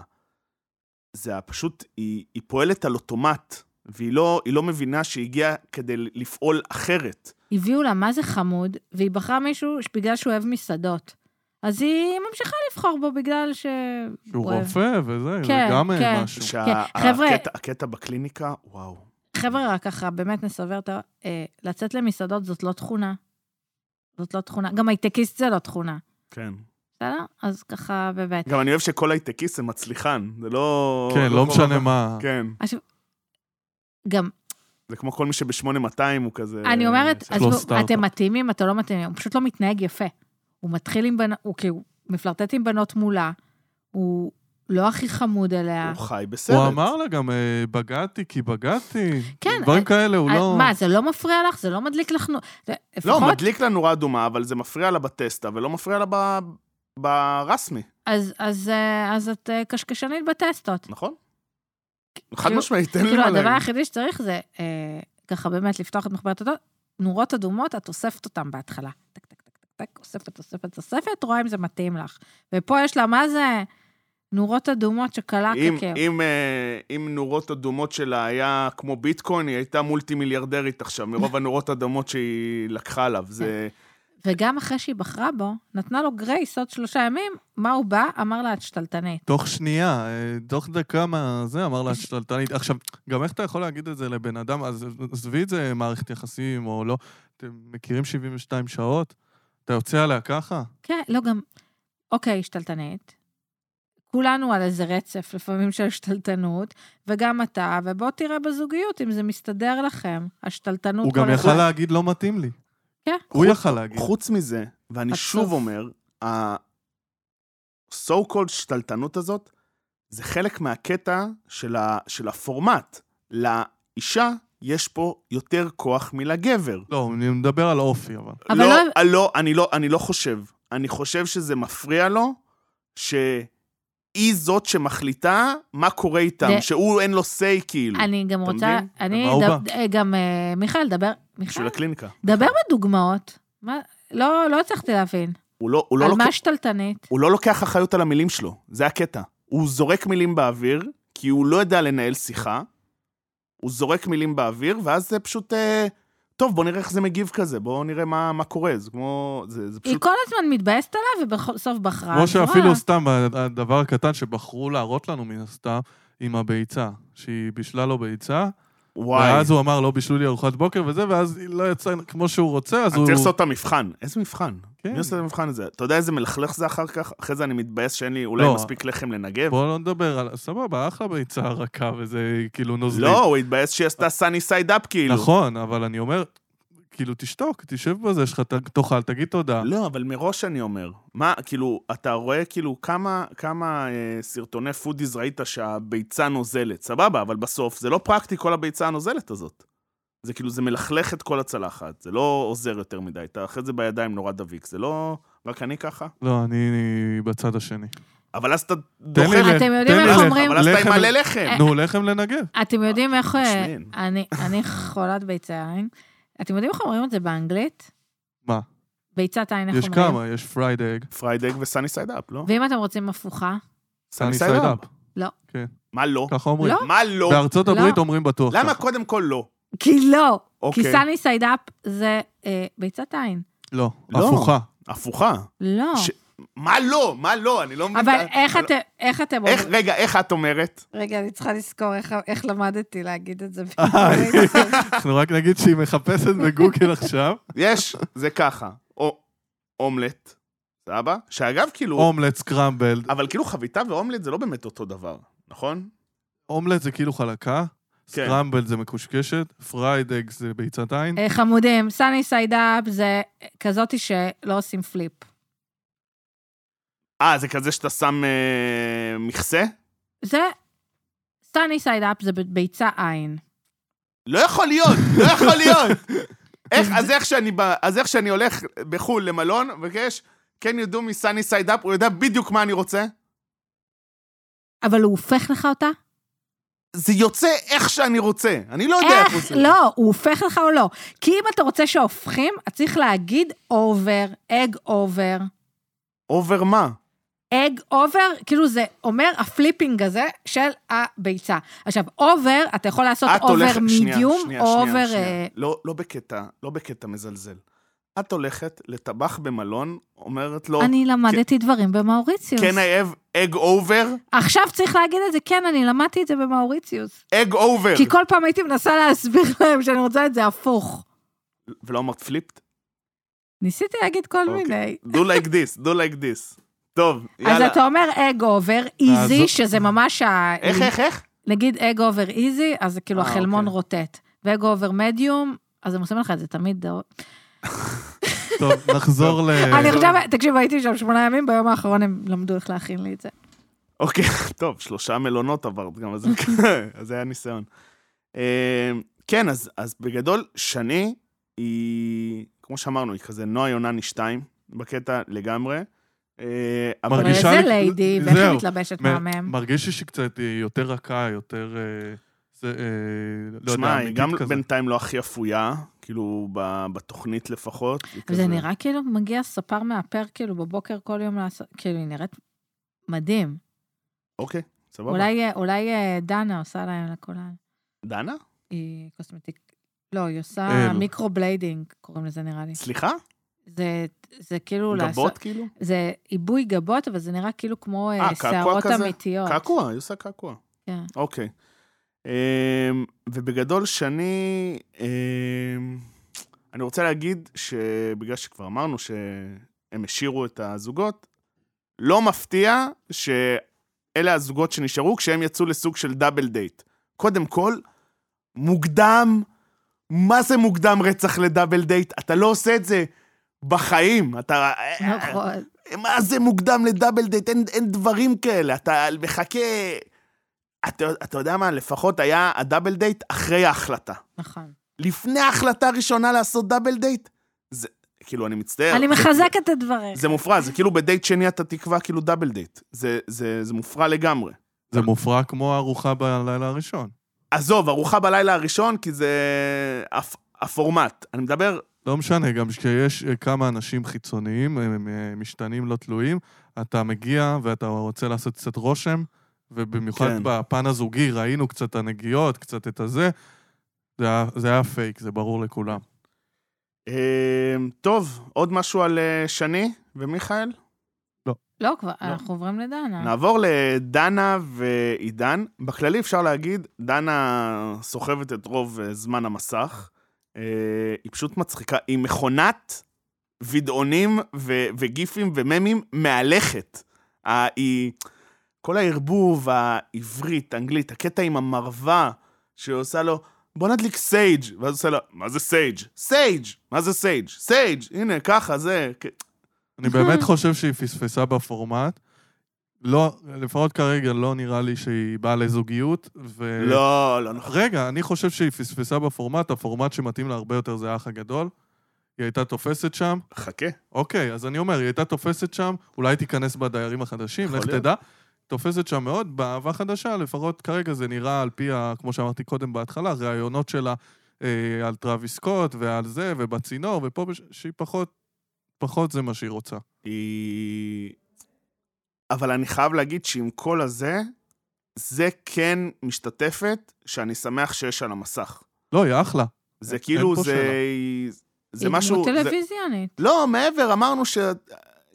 [SPEAKER 2] זה ה- פשוט, היא, היא פועלת על אוטומט, והיא לא, היא לא מבינה שהיא הגיעה כדי לפעול אחרת.
[SPEAKER 3] הביאו לה מה זה חמוד, והיא בחרה מישהו ש- בגלל שהוא אוהב מסעדות. אז היא ממשיכה לבחור בו בגלל ש...
[SPEAKER 2] לא,
[SPEAKER 4] שהוא
[SPEAKER 3] אוהב.
[SPEAKER 4] רופא וזה, זה
[SPEAKER 3] כן,
[SPEAKER 4] גם אה,
[SPEAKER 3] כן.
[SPEAKER 4] משהו.
[SPEAKER 2] שהקטע
[SPEAKER 3] חבר'ה-
[SPEAKER 2] הקטע- הקטע בקליניקה, וואו.
[SPEAKER 3] חבר'ה, רק ככה, באמת נסבר את ה... אה, לצאת למסעדות זאת לא תכונה. זאת לא תכונה. גם הייטקיסט זה לא תכונה.
[SPEAKER 2] כן.
[SPEAKER 3] בסדר? אז ככה, באמת.
[SPEAKER 2] גם אני אוהב שכל הייטקיסט זה מצליחן, זה לא...
[SPEAKER 4] כן, לא משנה
[SPEAKER 2] חובה.
[SPEAKER 4] מה.
[SPEAKER 2] כן,
[SPEAKER 3] גם,
[SPEAKER 2] זה כמו כל מי שב-8200 הוא כזה...
[SPEAKER 3] אני אומרת,
[SPEAKER 2] ש-
[SPEAKER 4] לא
[SPEAKER 3] עזבו,
[SPEAKER 4] סטארט-אפ.
[SPEAKER 3] אתם מתאימים, אתם לא מתאימים, הוא פשוט לא מתנהג יפה. הוא מתחיל עם בנות, הוא כאילו מפלרטט עם בנות מולה, הוא לא הכי חמוד אליה.
[SPEAKER 2] הוא חי בסרט.
[SPEAKER 4] הוא אמר לה גם, אה, בגדתי כי בגדתי.
[SPEAKER 3] כן,
[SPEAKER 4] דברים
[SPEAKER 3] אה,
[SPEAKER 4] כאלה, הוא
[SPEAKER 3] אה,
[SPEAKER 4] לא...
[SPEAKER 3] מה, זה לא מפריע לך? זה לא מדליק לך נו... זה-
[SPEAKER 2] לא,
[SPEAKER 3] לפחות,
[SPEAKER 2] מדליק לה נורה אדומה, אבל זה מפריע לה בטסטה, ולא מפריע לה ב... ברסמי,
[SPEAKER 3] אז- אז אה, אז את אה, קשקשנית בטסטות.
[SPEAKER 2] נכון? חד
[SPEAKER 3] כאילו-
[SPEAKER 2] משמעית, אין לי
[SPEAKER 3] כאילו,
[SPEAKER 2] מה
[SPEAKER 3] הדבר
[SPEAKER 2] להגיד.
[SPEAKER 3] היחידי שצריך זה, אה, ככה באמת, לפתוח את מחברת הדוד, נורות אדומות, את אוספת אותן בהתחלה. טק, טק, טק, טק, טק, אוספת, אוספת, אוספת, רואה אם זה מתאים לך. ופה יש לה, מה זה? נורות אדומות שקלה
[SPEAKER 2] אם-
[SPEAKER 3] ככאב.
[SPEAKER 2] אם, אה, אם נורות אדומות שלה היה כמו ביטקוין, היא הייתה מולטי מיליארדרית עכשיו, מרוב הנורות אדומות שהיא לקחה עליו. זה...
[SPEAKER 3] וגם אחרי שהיא בחרה בו, נתנה לו גרייס עוד שלושה ימים, מה הוא בא? אמר לה, את שתלטנית.
[SPEAKER 4] תוך שנייה, אה, תוך דקה מה זה, אמר לה שתלטנית. עכשיו, גם איך אתה יכול להגיד את זה לבן אדם, אז עזבי את זה מערכת יחסים או לא, אתם מכירים 72 שעות? אתה יוצא עליה ככה?
[SPEAKER 3] כן, לא, גם... אוקיי, שתלטנית. כולנו על איזה רצף לפעמים של שתלטנות, וגם אתה, ובוא תראה בזוגיות אם זה מסתדר לכם, השתלטנות
[SPEAKER 4] הוא גם
[SPEAKER 3] כל
[SPEAKER 4] יכל
[SPEAKER 3] הזמן.
[SPEAKER 4] להגיד לא מתאים לי.
[SPEAKER 3] כן.
[SPEAKER 4] הוא יכל להגיד.
[SPEAKER 2] חוץ מזה, ואני
[SPEAKER 3] עצוב.
[SPEAKER 2] שוב אומר, ה-so called שתלטנות הזאת, זה חלק מהקטע של, ה- של הפורמט. לאישה יש פה יותר כוח מלגבר.
[SPEAKER 4] לא, אני מדבר על אופי, אבל.
[SPEAKER 3] אבל
[SPEAKER 2] לא,
[SPEAKER 3] לא-
[SPEAKER 2] לא... לא, אני לא, אני לא חושב. אני חושב שזה מפריע לו שהיא זאת שמחליטה מה קורה איתם,
[SPEAKER 3] זה-
[SPEAKER 2] שהוא אין לו say כאילו,
[SPEAKER 3] אני גם
[SPEAKER 2] אתה
[SPEAKER 3] רוצה,
[SPEAKER 2] מבין?
[SPEAKER 3] אני
[SPEAKER 4] למה הוא
[SPEAKER 3] ד- אה, גם, אה, מיכאל, דבר,
[SPEAKER 2] בשביל
[SPEAKER 3] מיכאל,
[SPEAKER 2] הקליניקה.
[SPEAKER 3] דבר בדוגמאות. מה- לא, לא הצלחתי להבין.
[SPEAKER 2] הוא לא, הוא לא
[SPEAKER 3] על
[SPEAKER 2] לוקח...
[SPEAKER 3] מה שתלטנית?
[SPEAKER 2] הוא לא לוקח אחריות על המילים שלו, זה הקטע. הוא זורק מילים באוויר, כי הוא לא יודע לנהל שיחה, הוא זורק מילים באוויר, ואז זה פשוט... אה, טוב, בוא נראה איך זה מגיב כזה, בואו נראה מה, מה קורה, זה כמו... זה, זה
[SPEAKER 3] היא
[SPEAKER 2] פשוט...
[SPEAKER 3] כל הזמן מתבאסת עליו, ובסוף בחרה.
[SPEAKER 4] כמו
[SPEAKER 3] אז
[SPEAKER 4] שאפילו
[SPEAKER 3] וואלה.
[SPEAKER 4] סתם, אה, הדבר הקטן שבחרו להראות לנו מן הסתם, עם הביצה, שהיא בישלה לו ביצה,
[SPEAKER 2] וואי,
[SPEAKER 4] ואז הוא אמר, לא בישלו לי ארוחת בוקר וזה, ואז היא לא יצאה כמו שהוא רוצה, אז
[SPEAKER 2] אני
[SPEAKER 4] הוא...
[SPEAKER 2] צריך לעשות את המבחן. איזה מבחן?
[SPEAKER 4] כן.
[SPEAKER 2] מי עושה את המבחן הזה? אתה יודע איזה מלכלך זה אחר כך? אחרי זה אני מתבאס שאין לי אולי
[SPEAKER 4] לא.
[SPEAKER 2] מספיק לחם לנגב?
[SPEAKER 4] בואו לא נדבר על... סבבה, אחלה ביצה רכה וזה כאילו נוזלי.
[SPEAKER 2] לא, הוא התבאס שהיא עשתה sunny side up כאילו.
[SPEAKER 4] נכון, אבל אני אומר, כאילו, תשתוק, תשב בזה שלך, ת- תאכל, תגיד תודה.
[SPEAKER 2] לא, אבל מראש אני אומר. מה, כאילו, אתה רואה כאילו כמה, כמה אה, סרטוני פודיז ראית שהביצה נוזלת, סבבה, אבל בסוף זה לא פרקטי כל הביצה הנוזלת הזאת. זה כאילו, זה מלכלך את כל הצלחת, זה לא עוזר יותר מדי, אתה אחרי זה בידיים נורא דביק, זה לא... רק אני ככה?
[SPEAKER 4] לא, אני אני בצד השני.
[SPEAKER 2] אבל אז אתה
[SPEAKER 4] תן לי
[SPEAKER 2] דוחף,
[SPEAKER 4] ל-
[SPEAKER 3] אתם יודעים
[SPEAKER 4] תן לי
[SPEAKER 3] איך
[SPEAKER 4] ל-
[SPEAKER 3] אומרים?
[SPEAKER 2] אבל אז אתה
[SPEAKER 4] לחם-
[SPEAKER 2] עם
[SPEAKER 4] אה.
[SPEAKER 2] אה. מלא לחם.
[SPEAKER 4] נו, לחם לנגב.
[SPEAKER 3] אתם יודעים איך... אה,
[SPEAKER 2] משמין.
[SPEAKER 3] אני-
[SPEAKER 2] (laughs)
[SPEAKER 3] אני חולת ביצי עין. אתם יודעים איך אומרים את זה באנגלית?
[SPEAKER 4] מה?
[SPEAKER 3] ביצת עין, איך
[SPEAKER 4] יש
[SPEAKER 3] אומרים?
[SPEAKER 4] כמה, יש פרייד אג,
[SPEAKER 2] פריידג וסאני סייד אפ, לא?
[SPEAKER 3] ואם אתם רוצים הפוכה,
[SPEAKER 4] סני סייד אפ.
[SPEAKER 2] מה לא?
[SPEAKER 4] ככה אומרים.
[SPEAKER 3] לא.
[SPEAKER 2] מה לא?
[SPEAKER 4] בארצות
[SPEAKER 3] לא.
[SPEAKER 4] הברית אומרים בטוח
[SPEAKER 2] למה
[SPEAKER 4] ככה.
[SPEAKER 2] קודם כל לא?
[SPEAKER 3] כי לא, כי
[SPEAKER 2] אוקיי.
[SPEAKER 3] סאני סייד אפ זה אה, ביצת עין.
[SPEAKER 4] לא,
[SPEAKER 2] לא.
[SPEAKER 4] הפוכה.
[SPEAKER 2] הפוכה.
[SPEAKER 3] לא.
[SPEAKER 2] ש- מה לא? מה לא? אני לא מבין.
[SPEAKER 3] אבל
[SPEAKER 2] את ה-
[SPEAKER 3] איך
[SPEAKER 2] אני לא-
[SPEAKER 3] אתם- איך אתם
[SPEAKER 2] איך,
[SPEAKER 3] אומרים...
[SPEAKER 2] רגע, איך את אומרת?
[SPEAKER 3] רגע, אני צריכה לזכור איך- איך למדתי להגיד את זה.
[SPEAKER 2] אה,
[SPEAKER 3] (laughs)
[SPEAKER 4] אנחנו רק נגיד
[SPEAKER 2] (laughs)
[SPEAKER 4] שהיא מחפשת בגוגל עכשיו.
[SPEAKER 2] יש, זה ככה. או, אומלט, סבבה? שאגב, כאילו,
[SPEAKER 4] אומלט, סקרמבלד.
[SPEAKER 2] אבל כאילו חביתה ואומלט זה לא באמת אותו דבר, נכון?
[SPEAKER 4] אומלט זה כאילו חלקה,
[SPEAKER 2] כן.
[SPEAKER 4] סקרמבלד זה מקושקשת, פרייד אג זה ביצת עין.
[SPEAKER 3] אה, חמודים, סאני סייד אפ זה כזאתי שלא עושים פליפ.
[SPEAKER 2] אה, זה כזה שאתה שם אה, מכסה?
[SPEAKER 3] זה, סאני סייד אפ זה ביצה עין.
[SPEAKER 2] לא יכול להיות, לא יכול להיות. איך, אז, איך שאני, ב- אז איך שאני הולך בחו"ל למלון, מבקש, can you do me sunny side up, הוא יודע בדיוק מה אני רוצה.
[SPEAKER 3] אבל הוא הופך לך אותה?
[SPEAKER 2] זה יוצא איך שאני רוצה. אני לא יודע איך הוא
[SPEAKER 3] איך?
[SPEAKER 2] עושה.
[SPEAKER 3] לא, הוא הופך לך או לא. כי אם אתה רוצה שהופכים, אז צריך להגיד אובר, אג אובר.
[SPEAKER 2] אובר מה?
[SPEAKER 3] אג אובר, כאילו זה אומר הפליפינג הזה של הביצה. עכשיו, אובר, אתה יכול לעשות
[SPEAKER 2] את הולכת...
[SPEAKER 3] אובר
[SPEAKER 2] שנייה,
[SPEAKER 3] מידיום,
[SPEAKER 2] שנייה,
[SPEAKER 3] או
[SPEAKER 2] שנייה,
[SPEAKER 3] אובר...
[SPEAKER 2] שנייה.
[SPEAKER 3] אה,
[SPEAKER 2] לא, לא בקטע, לא בקטע מזלזל. את הולכת לטבח במלון, אומרת לו,
[SPEAKER 3] אני למדתי דברים במאוריציוס.
[SPEAKER 2] can I have egg over?
[SPEAKER 3] עכשיו צריך להגיד את זה, כן, אני למדתי את זה במאוריציוס.
[SPEAKER 2] egg over.
[SPEAKER 3] כי כל פעם הייתי מנסה להסביר להם שאני רוצה את זה הפוך.
[SPEAKER 2] ולא אמרת פליפט?
[SPEAKER 3] ניסיתי להגיד כל
[SPEAKER 2] אוקיי.
[SPEAKER 3] מיני.
[SPEAKER 2] do like this, do like this. טוב,
[SPEAKER 3] אז
[SPEAKER 2] יאללה.
[SPEAKER 3] אתה אומר אג אובר, איזי,
[SPEAKER 4] אז-
[SPEAKER 3] שזה ממש ה...
[SPEAKER 2] איך, איך, איך?
[SPEAKER 3] נגיד אג אובר איזי, אז זה כאילו
[SPEAKER 2] אה,
[SPEAKER 3] החלמון
[SPEAKER 2] אוקיי.
[SPEAKER 3] רוטט. ואג אובר מדיום, אז הם עושים לך את זה תמיד.
[SPEAKER 4] טוב, נחזור ל...
[SPEAKER 3] אני חושבת, תקשיב, הייתי שם שמונה ימים, ביום האחרון הם למדו איך להכין לי את זה.
[SPEAKER 2] אוקיי, (laughs) טוב, שלושה מלונות עברת גם, אז
[SPEAKER 3] אוקיי.
[SPEAKER 2] (laughs) אז זה היה ניסיון. אה, כן, אז, אז בגדול, שני היא, כמו שאמרנו, היא כזה נועה יונני 2, בקטע לגמרי. אה, אבל
[SPEAKER 3] אבל
[SPEAKER 4] מרגישה
[SPEAKER 3] איזה
[SPEAKER 4] לי-
[SPEAKER 3] ליידי, ואיך
[SPEAKER 4] זהו.
[SPEAKER 3] היא מתלבשת
[SPEAKER 4] מ-
[SPEAKER 3] מהמם.
[SPEAKER 4] מרגיש לי שהיא קצת אה, יותר רכה, יותר... אה, זה, אה, לא יודע,
[SPEAKER 2] שמע, היא
[SPEAKER 4] אמיתית
[SPEAKER 2] גם
[SPEAKER 4] כזה.
[SPEAKER 2] בינתיים לא הכי אפויה, כאילו, ב- בתוכנית לפחות. היא כזה-
[SPEAKER 3] זה נראה כאילו מגיע ספר מהפר, כאילו, בבוקר כל יום לעשות, כאילו, היא נראית מדהים.
[SPEAKER 2] אוקיי, סבבה.
[SPEAKER 3] אולי אה, אולי אה, דנה עושה להם לכולן.
[SPEAKER 2] דנה?
[SPEAKER 3] היא קוסמטיק... לא, היא עושה
[SPEAKER 4] אל.
[SPEAKER 3] מיקרו-בליידינג, קוראים לזה נראה לי.
[SPEAKER 2] סליחה?
[SPEAKER 3] זה, זה כאילו לעשות...
[SPEAKER 2] גבות כאילו?
[SPEAKER 3] זה עיבוי גבות, אבל זה נראה כאילו כמו אה,
[SPEAKER 2] אה, קעקוע
[SPEAKER 3] שערות
[SPEAKER 2] כזה?
[SPEAKER 3] אמיתיות.
[SPEAKER 2] קעקוע, היא עושה קעקוע.
[SPEAKER 3] כן.
[SPEAKER 2] אוקיי. אמ, ובגדול, שני, אמ, אני רוצה להגיד שבגלל שכבר אמרנו שהם השאירו את הזוגות, לא מפתיע שאלה הזוגות שנשארו כשהם יצאו לסוג של דאבל דייט. קודם כל, מוקדם, מה זה מוקדם רצח לדאבל דייט? אתה לא עושה את זה בחיים. אתה...
[SPEAKER 3] נכון.
[SPEAKER 2] מה זה מוקדם לדאבל דייט? אין, אין דברים כאלה. אתה מחכה... אתה, אתה יודע מה? לפחות היה הדאבל דייט אחרי ההחלטה.
[SPEAKER 3] נכון.
[SPEAKER 2] לפני ההחלטה הראשונה לעשות דאבל דייט? זה... כאילו, אני מצטער.
[SPEAKER 3] אני
[SPEAKER 2] זה-
[SPEAKER 3] מחזקת את דבריך.
[SPEAKER 2] זה מופרע, זה כאילו בדייט שני אתה תקבע כאילו דאבל דייט. זה, זה, זה מופרע לגמרי.
[SPEAKER 4] זה מופרע כמו ארוחה בלילה הראשון.
[SPEAKER 2] עזוב, ארוחה בלילה הראשון, כי זה הפ... הפורמט. אני מדבר,
[SPEAKER 4] לא משנה, גם כשיש אה, כמה אנשים חיצוניים, הם אה, משתנים לא תלויים, אתה מגיע ואתה רוצה לעשות קצת רושם, ובמיוחד
[SPEAKER 2] כן.
[SPEAKER 4] בפן הזוגי ראינו קצת את הנגיעות, קצת את הזה. זה היה, זה היה פייק, זה ברור לכולם.
[SPEAKER 2] אה, טוב, עוד משהו על אה, שני ומיכאל?
[SPEAKER 3] לא, כבר,
[SPEAKER 2] לא.
[SPEAKER 3] אנחנו עוברים לדנה.
[SPEAKER 2] נעבור לדנה ועידן. בכללי אפשר להגיד, דנה סוחבת את רוב אה, זמן המסך. אה, היא פשוט מצחיקה. היא מכונת וידאונים ו- וגיפים וממים מהלכת. ה- היא... כל הערבוב, העברית, האנגלית, הקטע עם המרווה, שעושה לו, בוא נדליק סייג', ואז עושה לו, מה זה סייג'? סייג', מה זה סייג'? סייג', הנה, ככה, זה... כ-
[SPEAKER 4] אני באמת חושב שהיא פספסה בפורמט. לא, לפחות כרגע לא נראה לי שהיא באה לזוגיות, ו...
[SPEAKER 2] לא, לא נכון.
[SPEAKER 4] רגע, אני חושב שהיא פספסה בפורמט, הפורמט שמתאים לה הרבה יותר זה האח הגדול. היא הייתה תופסת שם,
[SPEAKER 2] חכה.
[SPEAKER 4] אוקיי, אז אני אומר, היא הייתה תופסת שם, אולי תיכנס בדיירים החדשים,
[SPEAKER 2] יכול
[SPEAKER 4] לך
[SPEAKER 2] להיות.
[SPEAKER 4] תדע. תופסת שם מאוד, באהבה חדשה, לפחות כרגע זה נראה על פי, ה, כמו שאמרתי קודם בהתחלה, ראיונות שלה אה, על טראביס סקוט ועל זה, ובצינור, ופה, בש- שהיא פחות, פחות זה מה שהיא רוצה.
[SPEAKER 2] היא... אבל אני חייב להגיד שעם כל הזה, זה כן משתתפת שאני שמח שיש על המסך.
[SPEAKER 4] לא, היא אחלה.
[SPEAKER 2] זה
[SPEAKER 4] אין-
[SPEAKER 2] כאילו,
[SPEAKER 4] אין פה
[SPEAKER 2] זה... זה
[SPEAKER 3] היא
[SPEAKER 2] משהו...
[SPEAKER 3] דמות
[SPEAKER 2] זה...
[SPEAKER 3] טלוויזיונית.
[SPEAKER 2] לא, מעבר, אמרנו ש...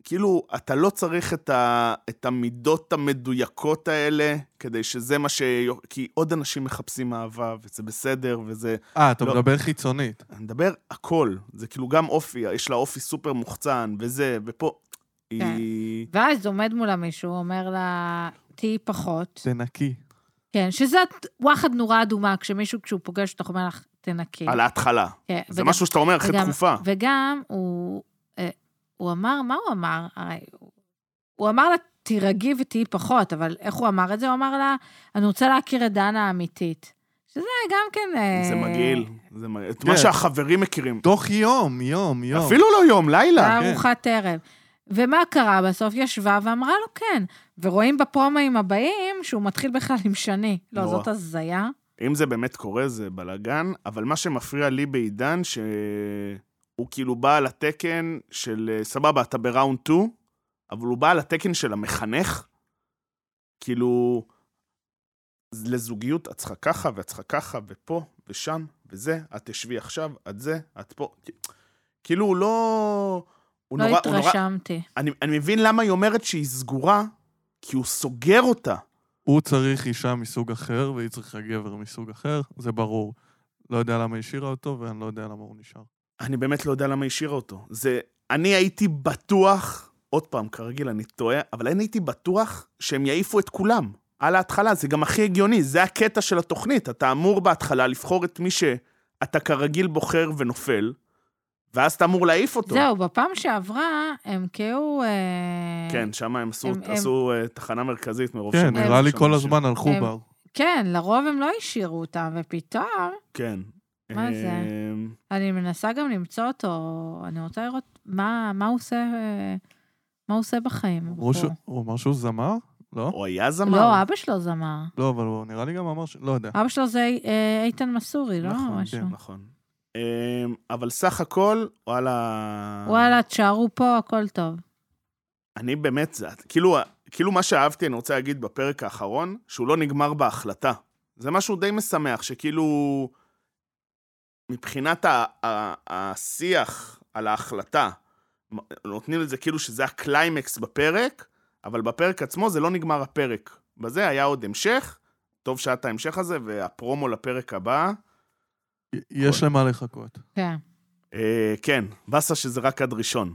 [SPEAKER 2] כאילו, אתה לא צריך את, ה... את המידות המדויקות האלה, כדי שזה מה ש... כי עוד אנשים מחפשים אהבה, וזה בסדר, וזה...
[SPEAKER 4] אה, אתה
[SPEAKER 2] לא.
[SPEAKER 4] מדבר חיצונית.
[SPEAKER 2] אני מדבר הכל. זה כאילו גם אופי, יש לה אופי סופר מוחצן, וזה, ופה... היא...
[SPEAKER 3] ואז עומד מולה מישהו, אומר לה, תהיי פחות.
[SPEAKER 4] זה נקי.
[SPEAKER 3] כן, שזה וואחד נורה אדומה, כשמישהו, כשהוא פוגש אותך, אומר לך, תנקי.
[SPEAKER 2] על ההתחלה.
[SPEAKER 3] כן,
[SPEAKER 2] זה
[SPEAKER 3] וגם-
[SPEAKER 2] משהו שאתה אומר אחרי
[SPEAKER 3] וגם-
[SPEAKER 2] תקופה.
[SPEAKER 3] וגם הוא, אה, הוא אמר, מה הוא אמר? הרי הוא- הוא אמר לה, תירגעי ותהיי פחות, אבל איך הוא אמר את זה? הוא אמר לה, אני רוצה להכיר את דנה האמיתית. שזה גם כן... אה,
[SPEAKER 2] זה מגעיל. זה מגעיל. את
[SPEAKER 4] כן.
[SPEAKER 2] מה שהחברים מכירים.
[SPEAKER 4] תוך יום, יום, יום.
[SPEAKER 2] אפילו לא יום, לילה.
[SPEAKER 4] כן.
[SPEAKER 3] ארוחת ערב. ומה קרה? בסוף ישבה ואמרה לו כן. ורואים בפרומואים הבאים שהוא מתחיל בכלל עם שני. לא,
[SPEAKER 2] נורא.
[SPEAKER 3] זאת הזיה.
[SPEAKER 2] אם זה באמת קורה, זה בלאגן, אבל מה שמפריע לי בעידן, שהוא כאילו בא על התקן של, אה, סבבה, אתה בראונד 2, אבל הוא בא על התקן של המחנך. כאילו, לזוגיות, את צריכה ככה, ואת צריכה ככה, ופה, ושם, וזה, את תשבי עכשיו, את זה, את פה. כאילו, הוא לא... הוא
[SPEAKER 3] לא
[SPEAKER 2] נורא, הוא נורא...
[SPEAKER 3] התרשמתי.
[SPEAKER 2] אני, אני מבין למה היא אומרת שהיא סגורה, כי הוא סוגר אותה.
[SPEAKER 4] הוא צריך אישה מסוג אחר, והיא צריכה גבר מסוג אחר, זה ברור. לא יודע למה היא השאירה אותו, ואני לא יודע למה הוא נשאר.
[SPEAKER 2] אני באמת לא יודע למה היא השאירה אותו. זה... אני הייתי בטוח, עוד פעם, כרגיל, אני טועה, אבל אני הייתי בטוח שהם יעיפו את כולם. על ההתחלה, זה גם הכי הגיוני, זה הקטע של התוכנית. אתה אמור בהתחלה לבחור את מי שאתה כרגיל בוחר ונופל, ואז אתה אמור להעיף אותו.
[SPEAKER 3] זהו, בפעם שעברה הם כאילו... אה,
[SPEAKER 2] כן, שם הם עשו,
[SPEAKER 3] הם- הם-
[SPEAKER 2] עשו אה, תחנה מרכזית מרוב
[SPEAKER 4] כן,
[SPEAKER 2] שהם היו
[SPEAKER 4] נראה לי
[SPEAKER 2] שם
[SPEAKER 4] כל
[SPEAKER 2] אנשים.
[SPEAKER 4] הזמן הלכו
[SPEAKER 3] הם-
[SPEAKER 4] בר.
[SPEAKER 3] כן, לרוב הם לא השאירו אותם, ופתאום
[SPEAKER 2] כן.
[SPEAKER 3] מה זה?
[SPEAKER 2] אמ,
[SPEAKER 3] אני מנסה גם למצוא אותו, אני רוצה לראות מה, מה הוא עושה, אה, מה הוא עושה בחיים.
[SPEAKER 4] הוא ש-
[SPEAKER 3] הבחור.
[SPEAKER 4] הוא אמר שהוא זמר? לא?
[SPEAKER 2] הוא היה זמר.
[SPEAKER 3] לא, אבא שלו זמר.
[SPEAKER 4] לא, אבל הוא נראה לי גם אמר ש... לא יודע.
[SPEAKER 3] אבא שלו זה אה, איתן מסורי, לא?
[SPEAKER 4] נכון,
[SPEAKER 3] משהו.
[SPEAKER 4] כן,
[SPEAKER 2] נכון. אמ, אבל סך הכל,
[SPEAKER 4] אה.
[SPEAKER 2] וואלה...
[SPEAKER 3] וואלה, תשארו פה, הכל טוב.
[SPEAKER 2] אני באמת, זה, כאילו, כאילו מה שאהבתי, אני רוצה להגיד בפרק האחרון, שהוא לא נגמר בהחלטה. זה משהו די משמח, שכאילו, מבחינת ה, ה, השיח על ההחלטה, מ- נותנים לזה כאילו שזה הקליימקס בפרק, אבל בפרק עצמו זה לא נגמר הפרק. בזה היה עוד המשך, טוב שעת ההמשך הזה, והפרומו לפרק הבא.
[SPEAKER 4] יש למה לחכות.
[SPEAKER 3] כן.
[SPEAKER 2] אה, כן, באסה שזה רק עד ראשון.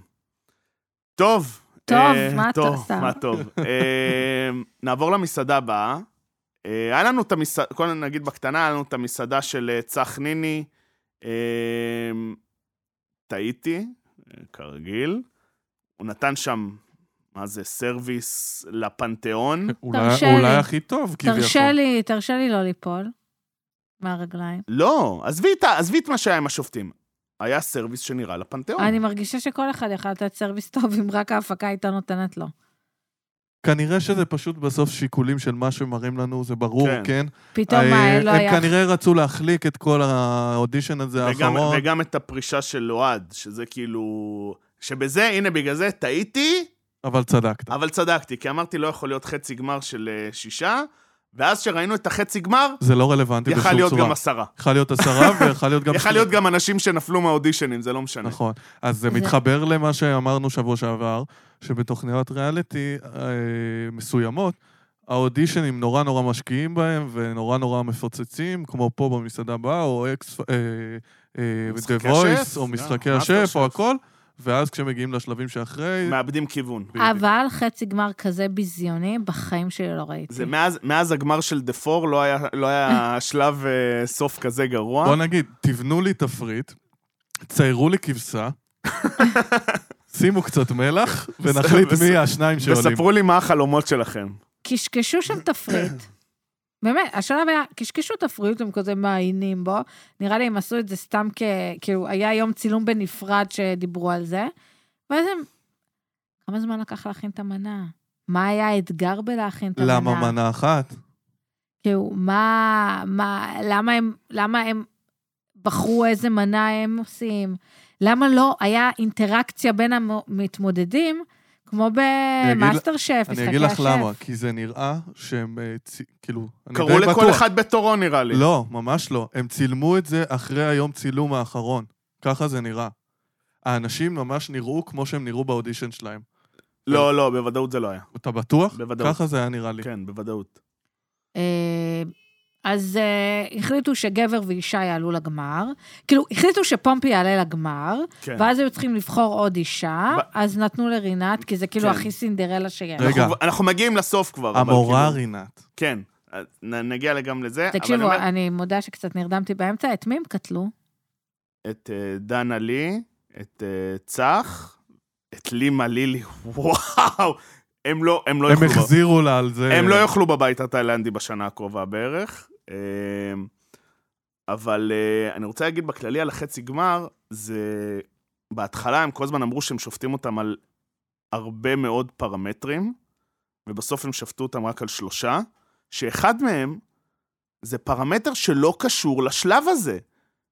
[SPEAKER 2] טוב.
[SPEAKER 3] טוב,
[SPEAKER 2] אה,
[SPEAKER 3] מה אתה
[SPEAKER 2] טוב,
[SPEAKER 3] עושה?
[SPEAKER 2] מה טוב. אה, נעבור למסעדה הבאה. אה, היה לנו את המסעדה, קודם נגיד בקטנה, היה לנו את המסעדה של אה, צח ניני. אה, טעיתי, אה, כרגיל. הוא נתן שם, מה זה, סרוויס
[SPEAKER 3] (laughs)
[SPEAKER 2] לפנתיאון.
[SPEAKER 4] אולי
[SPEAKER 3] תרשה
[SPEAKER 4] אולי
[SPEAKER 3] לי.
[SPEAKER 4] הכי טוב, כביכול.
[SPEAKER 3] תרשה לי, תרשה לי לא ליפול מהרגליים.
[SPEAKER 2] לא, עזבי את ה- עזבי את מה שהיה עם השופטים. היה סרוויס שנראה לפנתיאון.
[SPEAKER 3] אני מרגישה שכל אחד יכול לתת סרוויס טוב אם רק ההפקה הייתה נותנת לו.
[SPEAKER 4] כנראה שזה פשוט בסוף שיקולים של מה שמראים לנו, זה ברור,
[SPEAKER 2] כן.
[SPEAKER 4] כן?
[SPEAKER 3] פתאום
[SPEAKER 4] אה,
[SPEAKER 3] מה, לא היה...
[SPEAKER 4] הם כנראה רצו להחליק את כל האודישן הזה
[SPEAKER 2] וגם,
[SPEAKER 4] האחרון.
[SPEAKER 2] וגם את הפרישה של אוהד, שזה כאילו... שבזה, הנה, בגלל זה טעיתי,
[SPEAKER 4] אבל צדקת.
[SPEAKER 2] אבל צדקתי, כי אמרתי לא יכול להיות חצי גמר של אה, שישה, ואז שראינו את החצי גמר,
[SPEAKER 4] זה לא רלוונטי
[SPEAKER 2] יכל
[SPEAKER 4] בשום
[SPEAKER 2] להיות
[SPEAKER 4] צורה.
[SPEAKER 2] גם עשרה.
[SPEAKER 4] יכל להיות
[SPEAKER 2] (laughs)
[SPEAKER 4] עשרה ויכל להיות גם...
[SPEAKER 2] יכל להיות גם אנשים שנפלו מהאודישנים, זה לא משנה.
[SPEAKER 4] נכון. אז זה
[SPEAKER 3] זה-
[SPEAKER 4] מתחבר למה שאמרנו שבוע שעבר, שבתוכניות ריאליטי אה, מסוימות, האודישנים נורא נורא משקיעים בהם ונורא נורא מפוצצים, כמו פה במסעדה הבאה, או אקס... אה, אה,
[SPEAKER 2] משחקי
[SPEAKER 4] The Voice,
[SPEAKER 2] השף,
[SPEAKER 4] או
[SPEAKER 2] גם,
[SPEAKER 4] משחקי
[SPEAKER 2] מאסטר
[SPEAKER 4] השף, או
[SPEAKER 2] שף.
[SPEAKER 4] הכל, ואז כשמגיעים לשלבים שאחרי...
[SPEAKER 2] מאבדים כיוון.
[SPEAKER 4] בדיוק.
[SPEAKER 3] אבל חצי גמר כזה ביזיוני, בחיים שלי לא ראיתי.
[SPEAKER 2] זה מאז, מאז הגמר של דה פור לא היה, לא
[SPEAKER 4] (laughs)
[SPEAKER 2] היה שלב אה, סוף כזה גרוע.
[SPEAKER 4] בוא נגיד, תבנו לי תפריט, ציירו לי כבשה, שימו קצת
[SPEAKER 2] (laughs)
[SPEAKER 4] מלח, ונחליט מי השניים שעולים.
[SPEAKER 2] וספרו לי מה החלומות שלכם.
[SPEAKER 3] קשקשו שם תפריט. (coughs) באמת, השלב היה, קשקשו תפריט, הם כזה מעיינים בו. נראה לי הם עשו את זה סתם כ... כאילו, היה יום צילום בנפרד שדיברו על זה. ואז הם... כמה זמן לקח להכין את המנה? מה היה האתגר בלהכין את המנה?
[SPEAKER 4] למה מנה אחת?
[SPEAKER 3] כאילו, מה... מה... למה הם... למה הם בחרו איזה מנה הם עושים? למה לא היה אינטראקציה בין המתמודדים, כמו
[SPEAKER 4] אגיד לה-
[SPEAKER 3] במאסטר שף, משחקי השף?
[SPEAKER 4] אני אגיד לך למה, כי זה נראה שהם, אה, צי- כאילו, אני
[SPEAKER 2] קראו
[SPEAKER 4] די
[SPEAKER 2] לכל
[SPEAKER 4] בטוח.
[SPEAKER 2] אחד בתורו, נראה לי.
[SPEAKER 4] לא, ממש לא. הם צילמו את זה אחרי היום צילום האחרון. ככה זה נראה. האנשים ממש נראו כמו שהם נראו באודישן שלהם.
[SPEAKER 2] לא, לא, בוודאות כן, זה לא היה.
[SPEAKER 4] אתה בטוח?
[SPEAKER 2] בוודאות.
[SPEAKER 4] ככה זה היה נראה לי.
[SPEAKER 2] כן, בוודאות.
[SPEAKER 3] אה, אז uh, החליטו שגבר ואישה יעלו לגמר. כאילו, החליטו שפומפי יעלה לגמר,
[SPEAKER 2] כן.
[SPEAKER 3] ואז היו צריכים לבחור עוד אישה,
[SPEAKER 2] ב-
[SPEAKER 3] אז נתנו לרינת, כי זה כאילו
[SPEAKER 2] כן. לא,
[SPEAKER 3] הכי סינדרלה שיש.
[SPEAKER 4] רגע.
[SPEAKER 2] אנחנו- אנחנו מגיעים לסוף כבר. אבל
[SPEAKER 4] המורה
[SPEAKER 2] כאילו-
[SPEAKER 4] רינת.
[SPEAKER 2] כן, אז נ- נגיע גם לזה. אבל
[SPEAKER 3] תקשיבו,
[SPEAKER 2] אומר- לא,
[SPEAKER 3] אני מודה שקצת נרדמתי באמצע, את מי הם קטלו?
[SPEAKER 2] את אה, דנה לי, את אה, צח, את לימה לילי, וואו! הם לא, הם לא
[SPEAKER 4] הם
[SPEAKER 2] יוכלו. בב-
[SPEAKER 4] החזירו לה על זה.
[SPEAKER 2] הם לא יאכלו בבית התאילנדי בשנה הקרובה בערך. אמ, אבל אה, אני רוצה להגיד בכללי על החצי גמר, זה... בהתחלה הם כל הזמן אמרו שהם שופטים אותם על הרבה מאוד פרמטרים, ובסוף הם שפטו אותם רק על שלושה, שאחד מהם זה פרמטר שלא קשור לשלב הזה.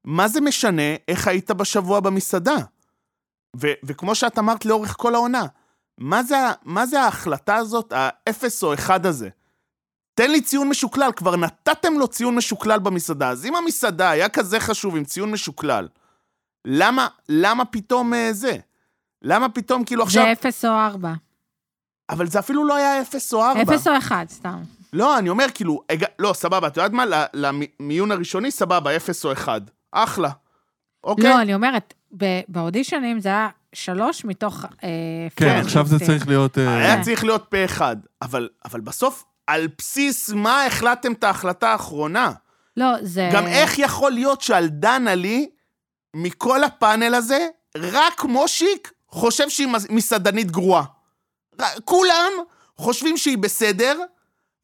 [SPEAKER 2] מה זה משנה איך היית בשבוע במסעדה? ו- וכמו שאת אמרת לאורך כל העונה, מה זה, ה- מה זה ההחלטה הזאת, האפס או אחד הזה? תן לי ציון משוקלל, כבר נתתם לו ציון משוקלל במסעדה, אז אם המסעדה היה כזה חשוב עם ציון משוקלל, למה, למה פתאום אה, זה? למה פתאום כאילו עכשיו...
[SPEAKER 3] זה אפס או ארבע.
[SPEAKER 2] אבל זה אפילו לא היה אפס או ארבע.
[SPEAKER 3] אפס או אחד, סתם.
[SPEAKER 2] לא, אני אומר, כאילו, הג... לא, סבבה, את יודעת מה? ל- למיון הראשוני, סבבה, אפס או אחד. אחלה. אוקיי?
[SPEAKER 3] לא, אני אומרת, ב- באודישנים זה היה שלוש מתוך... אה,
[SPEAKER 4] כן,
[SPEAKER 3] פורמליסטים.
[SPEAKER 4] עכשיו זה צריך להיות... אה,
[SPEAKER 2] היה צריך להיות פה אחד. אבל, אבל בסוף, על בסיס מה החלטתם את ההחלטה האחרונה?
[SPEAKER 3] לא, זה...
[SPEAKER 2] גם איך יכול להיות שעל דנה לי, מכל הפאנל הזה, רק מושיק חושב שהיא מס- מסעדנית גרועה. ר- כולם חושבים שהיא בסדר,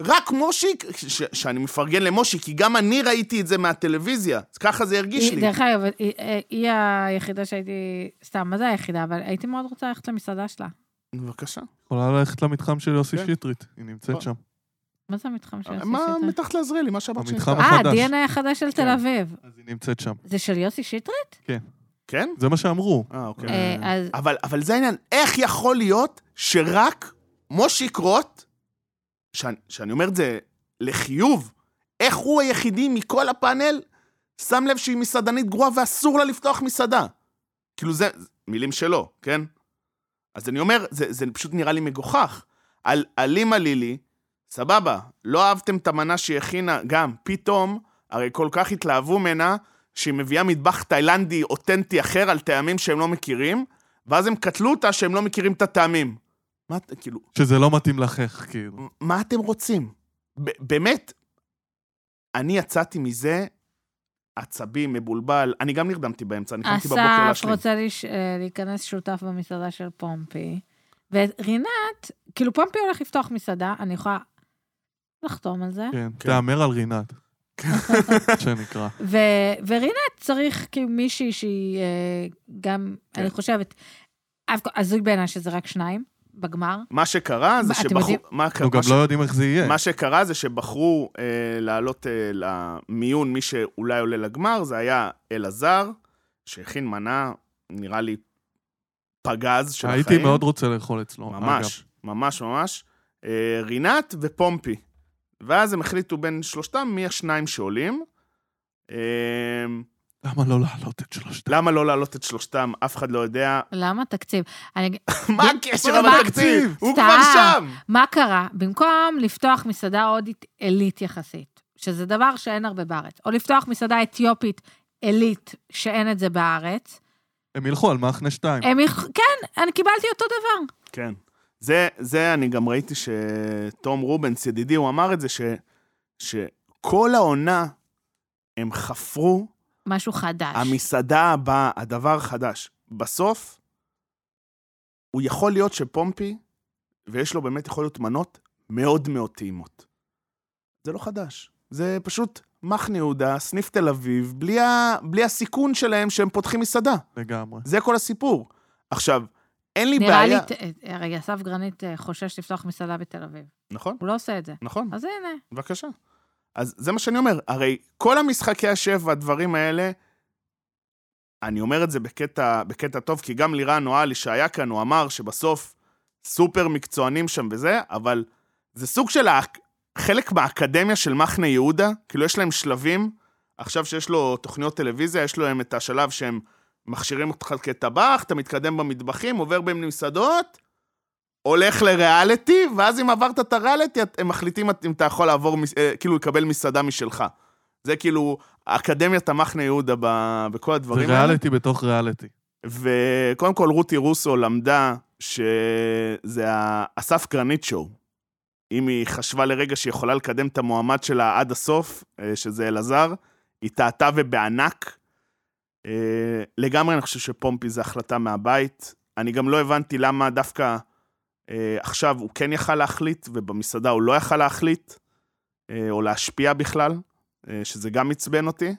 [SPEAKER 2] רק מושיק, ש- שאני מפרגן למושיק, כי גם אני ראיתי את זה מהטלוויזיה, אז ככה זה הרגיש
[SPEAKER 3] היא-
[SPEAKER 2] לי.
[SPEAKER 3] דרך אגב, היא- אה, היא היחידה שהייתי... סתם, מה זה היחידה? אבל הייתי מאוד רוצה ללכת למסעדה שלה.
[SPEAKER 2] בבקשה.
[SPEAKER 4] יכולה ללכת למתחם של יוסי
[SPEAKER 2] כן.
[SPEAKER 4] שטרית, היא נמצאת
[SPEAKER 2] לא.
[SPEAKER 4] שם.
[SPEAKER 3] מה זה המתחם של יוסי
[SPEAKER 2] אה, מה כן.
[SPEAKER 3] שטרית?
[SPEAKER 2] מתחת לעזריאלי, מה שאמרת
[SPEAKER 4] המתחם
[SPEAKER 2] שנקרא.
[SPEAKER 4] החדש.
[SPEAKER 3] אה, ה-DNA החדש של תל אביב.
[SPEAKER 4] אז היא נמצאת שם.
[SPEAKER 3] זה של יוסי שטרית?
[SPEAKER 2] כן?
[SPEAKER 4] זה מה שאמרו.
[SPEAKER 2] אה, אוקיי.
[SPEAKER 3] אה, אז
[SPEAKER 2] אבל, אבל זה העניין, איך יכול להיות שרק מושיק רוט, שאני, שאני אומר את זה לחיוב, איך הוא היחידי מכל הפאנל שם לב שהיא מסעדנית גרועה ואסור לה לפתוח מסעדה? כאילו זה, מילים שלו, כן? אז אני אומר, זה, זה פשוט נראה לי מגוחך. על אלימה לילי, סבבה, לא אהבתם את המנה שהיא הכינה, גם, פתאום, הרי כל כך התלהבו ממנה, שהיא מביאה מטבח תאילנדי אותנטי אחר על טעמים שהם לא מכירים, ואז הם קטלו אותה שהם לא מכירים את הטעמים. מה, את- כאילו,
[SPEAKER 4] שזה לא מתאים לחך, כאילו.
[SPEAKER 2] מה אתם רוצים? ב- באמת, אני יצאתי מזה עצבי, מבולבל, אני גם נרדמתי באמצע, אה, אני קמתי בבוקר
[SPEAKER 3] אסף
[SPEAKER 2] להשלים.
[SPEAKER 3] רוצה לש- אה, להיכנס שותף במסעדה של פומפי, ורינת, כאילו פומפי הולך לפתוח מסעדה, אני יכולה לחתום על זה,
[SPEAKER 4] כן. תהמר על רינת.
[SPEAKER 2] כן.
[SPEAKER 4] (laughs) שנקרא.
[SPEAKER 3] ו- ורינת צריך כאילו מישהי שהיא אה, גם,
[SPEAKER 2] כן.
[SPEAKER 3] אני חושבת, אף- הזוי בעיניי שזה רק שניים בגמר.
[SPEAKER 2] מה שקרה זה
[SPEAKER 3] מה, אתם
[SPEAKER 2] שבחור...
[SPEAKER 3] יודעים-
[SPEAKER 2] מה קרה?
[SPEAKER 4] אנחנו גם
[SPEAKER 2] מה ש-
[SPEAKER 4] לא יודעים איך זה יהיה.
[SPEAKER 2] מה שקרה זה שבחרו אה, לעלות אה, למיון מי שאולי עולה לגמר, זה היה אלעזר, שהכין מנה, נראה לי, פגז של החיים.
[SPEAKER 4] הייתי מאוד רוצה לאכול אצלו.
[SPEAKER 2] ממש, ממש, ממש. אה, רינת ופומפי. ואז הם החליטו בין שלושתם מי השניים שעולים. אה,
[SPEAKER 4] אגב. למה לא להעלות את שלושתם?
[SPEAKER 2] למה לא להעלות את שלושתם? אף אחד לא יודע.
[SPEAKER 3] למה תקציב? אני...
[SPEAKER 2] (laughs) מה הקשר
[SPEAKER 3] מה-
[SPEAKER 2] לתקציב? הוא
[SPEAKER 3] סתם.
[SPEAKER 2] כבר שם!
[SPEAKER 3] מה קרה? במקום לפתוח מסעדה הודית עילית יחסית, שזה דבר שאין הרבה בארץ, או לפתוח מסעדה אתיופית עילית, שאין את זה בארץ,
[SPEAKER 4] הם ילכו על מחנה שתיים.
[SPEAKER 3] הם יכ... כן, אני קיבלתי אותו דבר.
[SPEAKER 2] כן. זה, זה אני גם ראיתי שתום רובנס, ידידי, הוא אמר את זה, ש, שכל העונה הם חפרו
[SPEAKER 3] משהו חדש.
[SPEAKER 2] המסעדה הבאה, הדבר החדש. בסוף, הוא יכול להיות שפומפי, ויש לו באמת יכול להיות מנות מאוד מאוד טעימות. זה לא חדש. זה פשוט מחנה יהודה, סניף תל אביב, בלי, ה, בלי הסיכון שלהם שהם פותחים מסעדה.
[SPEAKER 4] לגמרי.
[SPEAKER 2] זה כל הסיפור. עכשיו, אין לי
[SPEAKER 3] נראה לי,
[SPEAKER 2] בעיה...
[SPEAKER 3] ת- אה, רגע, אסף גרנית אה, חושש לפתוח מסעדה בתל אביב.
[SPEAKER 2] נכון,
[SPEAKER 3] הוא לא עושה את זה.
[SPEAKER 2] נכון.
[SPEAKER 3] אז הנה,
[SPEAKER 2] בבקשה. אז זה מה שאני אומר, הרי כל המשחקי השף והדברים האלה, אני אומר את זה בקטע, בקטע טוב, כי גם לירן אוהלי שהיה כאן, הוא אמר שבסוף סופר מקצוענים שם וזה, אבל זה סוג של האק- חלק מהאקדמיה של מחנה יהודה, כאילו יש להם שלבים, עכשיו שיש לו תוכניות טלוויזיה, יש להם את השלב שהם מכשירים אותך כטבח, אתה מתקדם במטבחים, עובר בין מסעדות, הולך לריאליטי, ואז אם עברת את הריאליטי, את- הם מחליטים את- אם אתה יכול לעבור, מס- אה, כאילו, לקבל מסעדה משלך. זה כאילו, אקדמיית המחנה יהודה ב- בכל
[SPEAKER 4] זה
[SPEAKER 2] הדברים האלה.
[SPEAKER 4] ריאליטי בתוך ריאליטי.
[SPEAKER 2] וקודם כל, רותי רוסו למדה שזה ה- הסף גרנית שואו. אם היא חשבה לרגע שהיא יכולה לקדם את המועמד שלה עד הסוף, אה, שזה אלעזר, היא טעתה ובענק. אה, לגמרי אני חושב שפומפי זו החלטה מהבית. אני גם לא הבנתי למה דווקא אה, עכשיו הוא כן יכל להחליט, ובמסעדה הוא לא יכל להחליט, אה, או להשפיע בכלל, אה, שזה גם עצבן אותי.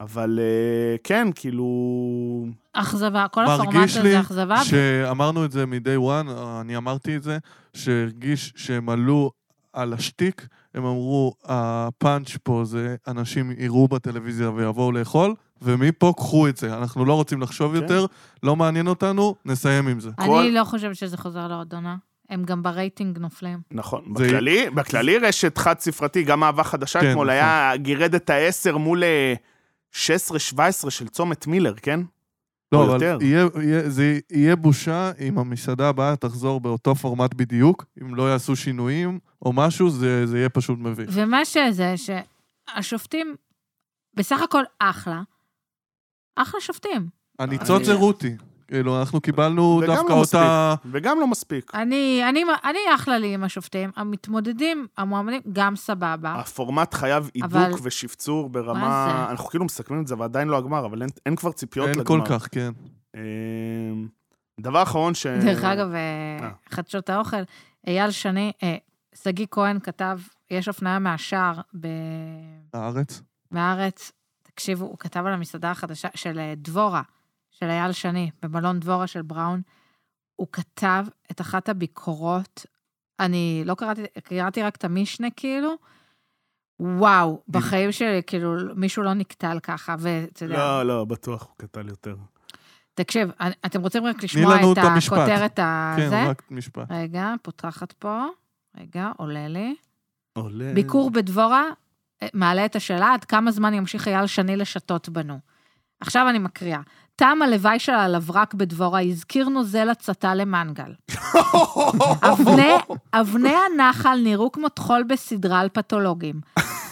[SPEAKER 2] אבל אה, כן, כאילו...
[SPEAKER 3] אכזבה, כל
[SPEAKER 4] מרגיש
[SPEAKER 3] הפורמט
[SPEAKER 4] לי
[SPEAKER 3] הזה אכזבה.
[SPEAKER 4] שאמרנו את זה מ-day one, אני אמרתי את זה, שהרגיש שהם עלו על השטיק, הם אמרו, הפאנץ' פה זה אנשים יראו בטלוויזיה ויבואו לאכול, ומפה קחו את זה, אנחנו לא רוצים לחשוב
[SPEAKER 2] כן.
[SPEAKER 4] יותר, לא מעניין אותנו, נסיים עם זה.
[SPEAKER 2] כל-
[SPEAKER 3] אני לא חושבת שזה חוזר לעוד עונה. הם גם ברייטינג נופלים.
[SPEAKER 2] נכון,
[SPEAKER 4] זה-
[SPEAKER 2] בכללי, בכללי רשת חד ספרתי, גם אהבה חדשה
[SPEAKER 4] כן,
[SPEAKER 2] אתמול היה גירד את העשר מול אה, 16-17 של צומת מילר, כן?
[SPEAKER 4] לא,
[SPEAKER 2] או
[SPEAKER 4] אבל
[SPEAKER 2] יותר.
[SPEAKER 4] יהיה, יהיה, זה יהיה בושה אם המסעדה הבאה תחזור באותו פורמט בדיוק, אם לא יעשו שינויים או משהו, זה, זה יהיה פשוט מביך.
[SPEAKER 3] ומה שזה, שהשופטים בסך הכל אחלה, אחלה שופטים.
[SPEAKER 4] הניצוץ זה רותי. כאילו, אנחנו קיבלנו
[SPEAKER 2] זה גם
[SPEAKER 4] דווקא
[SPEAKER 2] לא מספיק.
[SPEAKER 4] אותה...
[SPEAKER 2] וגם לא מספיק.
[SPEAKER 3] אני, אני, אני אחלה לי עם השופטים, המתמודדים, המועמדים, גם סבבה.
[SPEAKER 2] הפורמט חייב הידוק
[SPEAKER 3] אה. אבל-
[SPEAKER 2] ושפצור
[SPEAKER 3] מה
[SPEAKER 2] ברמה...
[SPEAKER 3] זה?
[SPEAKER 2] אנחנו כאילו מסכמים את זה, ועדיין לא הגמר, אבל אין, אין כבר ציפיות
[SPEAKER 4] אין
[SPEAKER 2] לגמר.
[SPEAKER 4] כל כך, כן.
[SPEAKER 2] אמ, דבר אחרון ש...
[SPEAKER 3] דרך אגב, אה,
[SPEAKER 2] אה.
[SPEAKER 3] חדשות האוכל, אייל שני, אה, שגיא כהן כתב, יש הפניה מהשער ב-
[SPEAKER 4] הארץ.
[SPEAKER 3] מהארץ, תקשיבו, הוא כתב על המסעדה החדשה של אה, דבורה, של אייל שני, במלון דבורה של בראון. הוא כתב את אחת הביקורות, אני לא קראתי, קראתי רק את המשנה כאילו, וואו, בחיים שלי, כאילו, מישהו לא נקטל ככה, ואתה יודע,
[SPEAKER 2] לא, לא, בטוח, הוא קטן יותר.
[SPEAKER 3] תקשיב, אני- אתם רוצים רק
[SPEAKER 4] תני
[SPEAKER 3] לשמוע
[SPEAKER 4] לנו
[SPEAKER 3] את
[SPEAKER 4] את המשפט.
[SPEAKER 3] הכותרת
[SPEAKER 4] כן,
[SPEAKER 3] הזה?
[SPEAKER 4] רק משפט.
[SPEAKER 3] רגע, פותחת פה, רגע, עולה לי.
[SPEAKER 2] עולה.
[SPEAKER 3] ביקור בדבורה אה, מעלה את השאלה עד כמה זמן ימשיך אייל שני לשתות בנו. עכשיו אני מקריאה. טעם הלוואי של הלברק בדבורה הזכיר נוזל הצתה למנגל. אבני,
[SPEAKER 2] (laughs)
[SPEAKER 3] אבני הנחל נראו כמו טחול בסדרה על פתולוגים.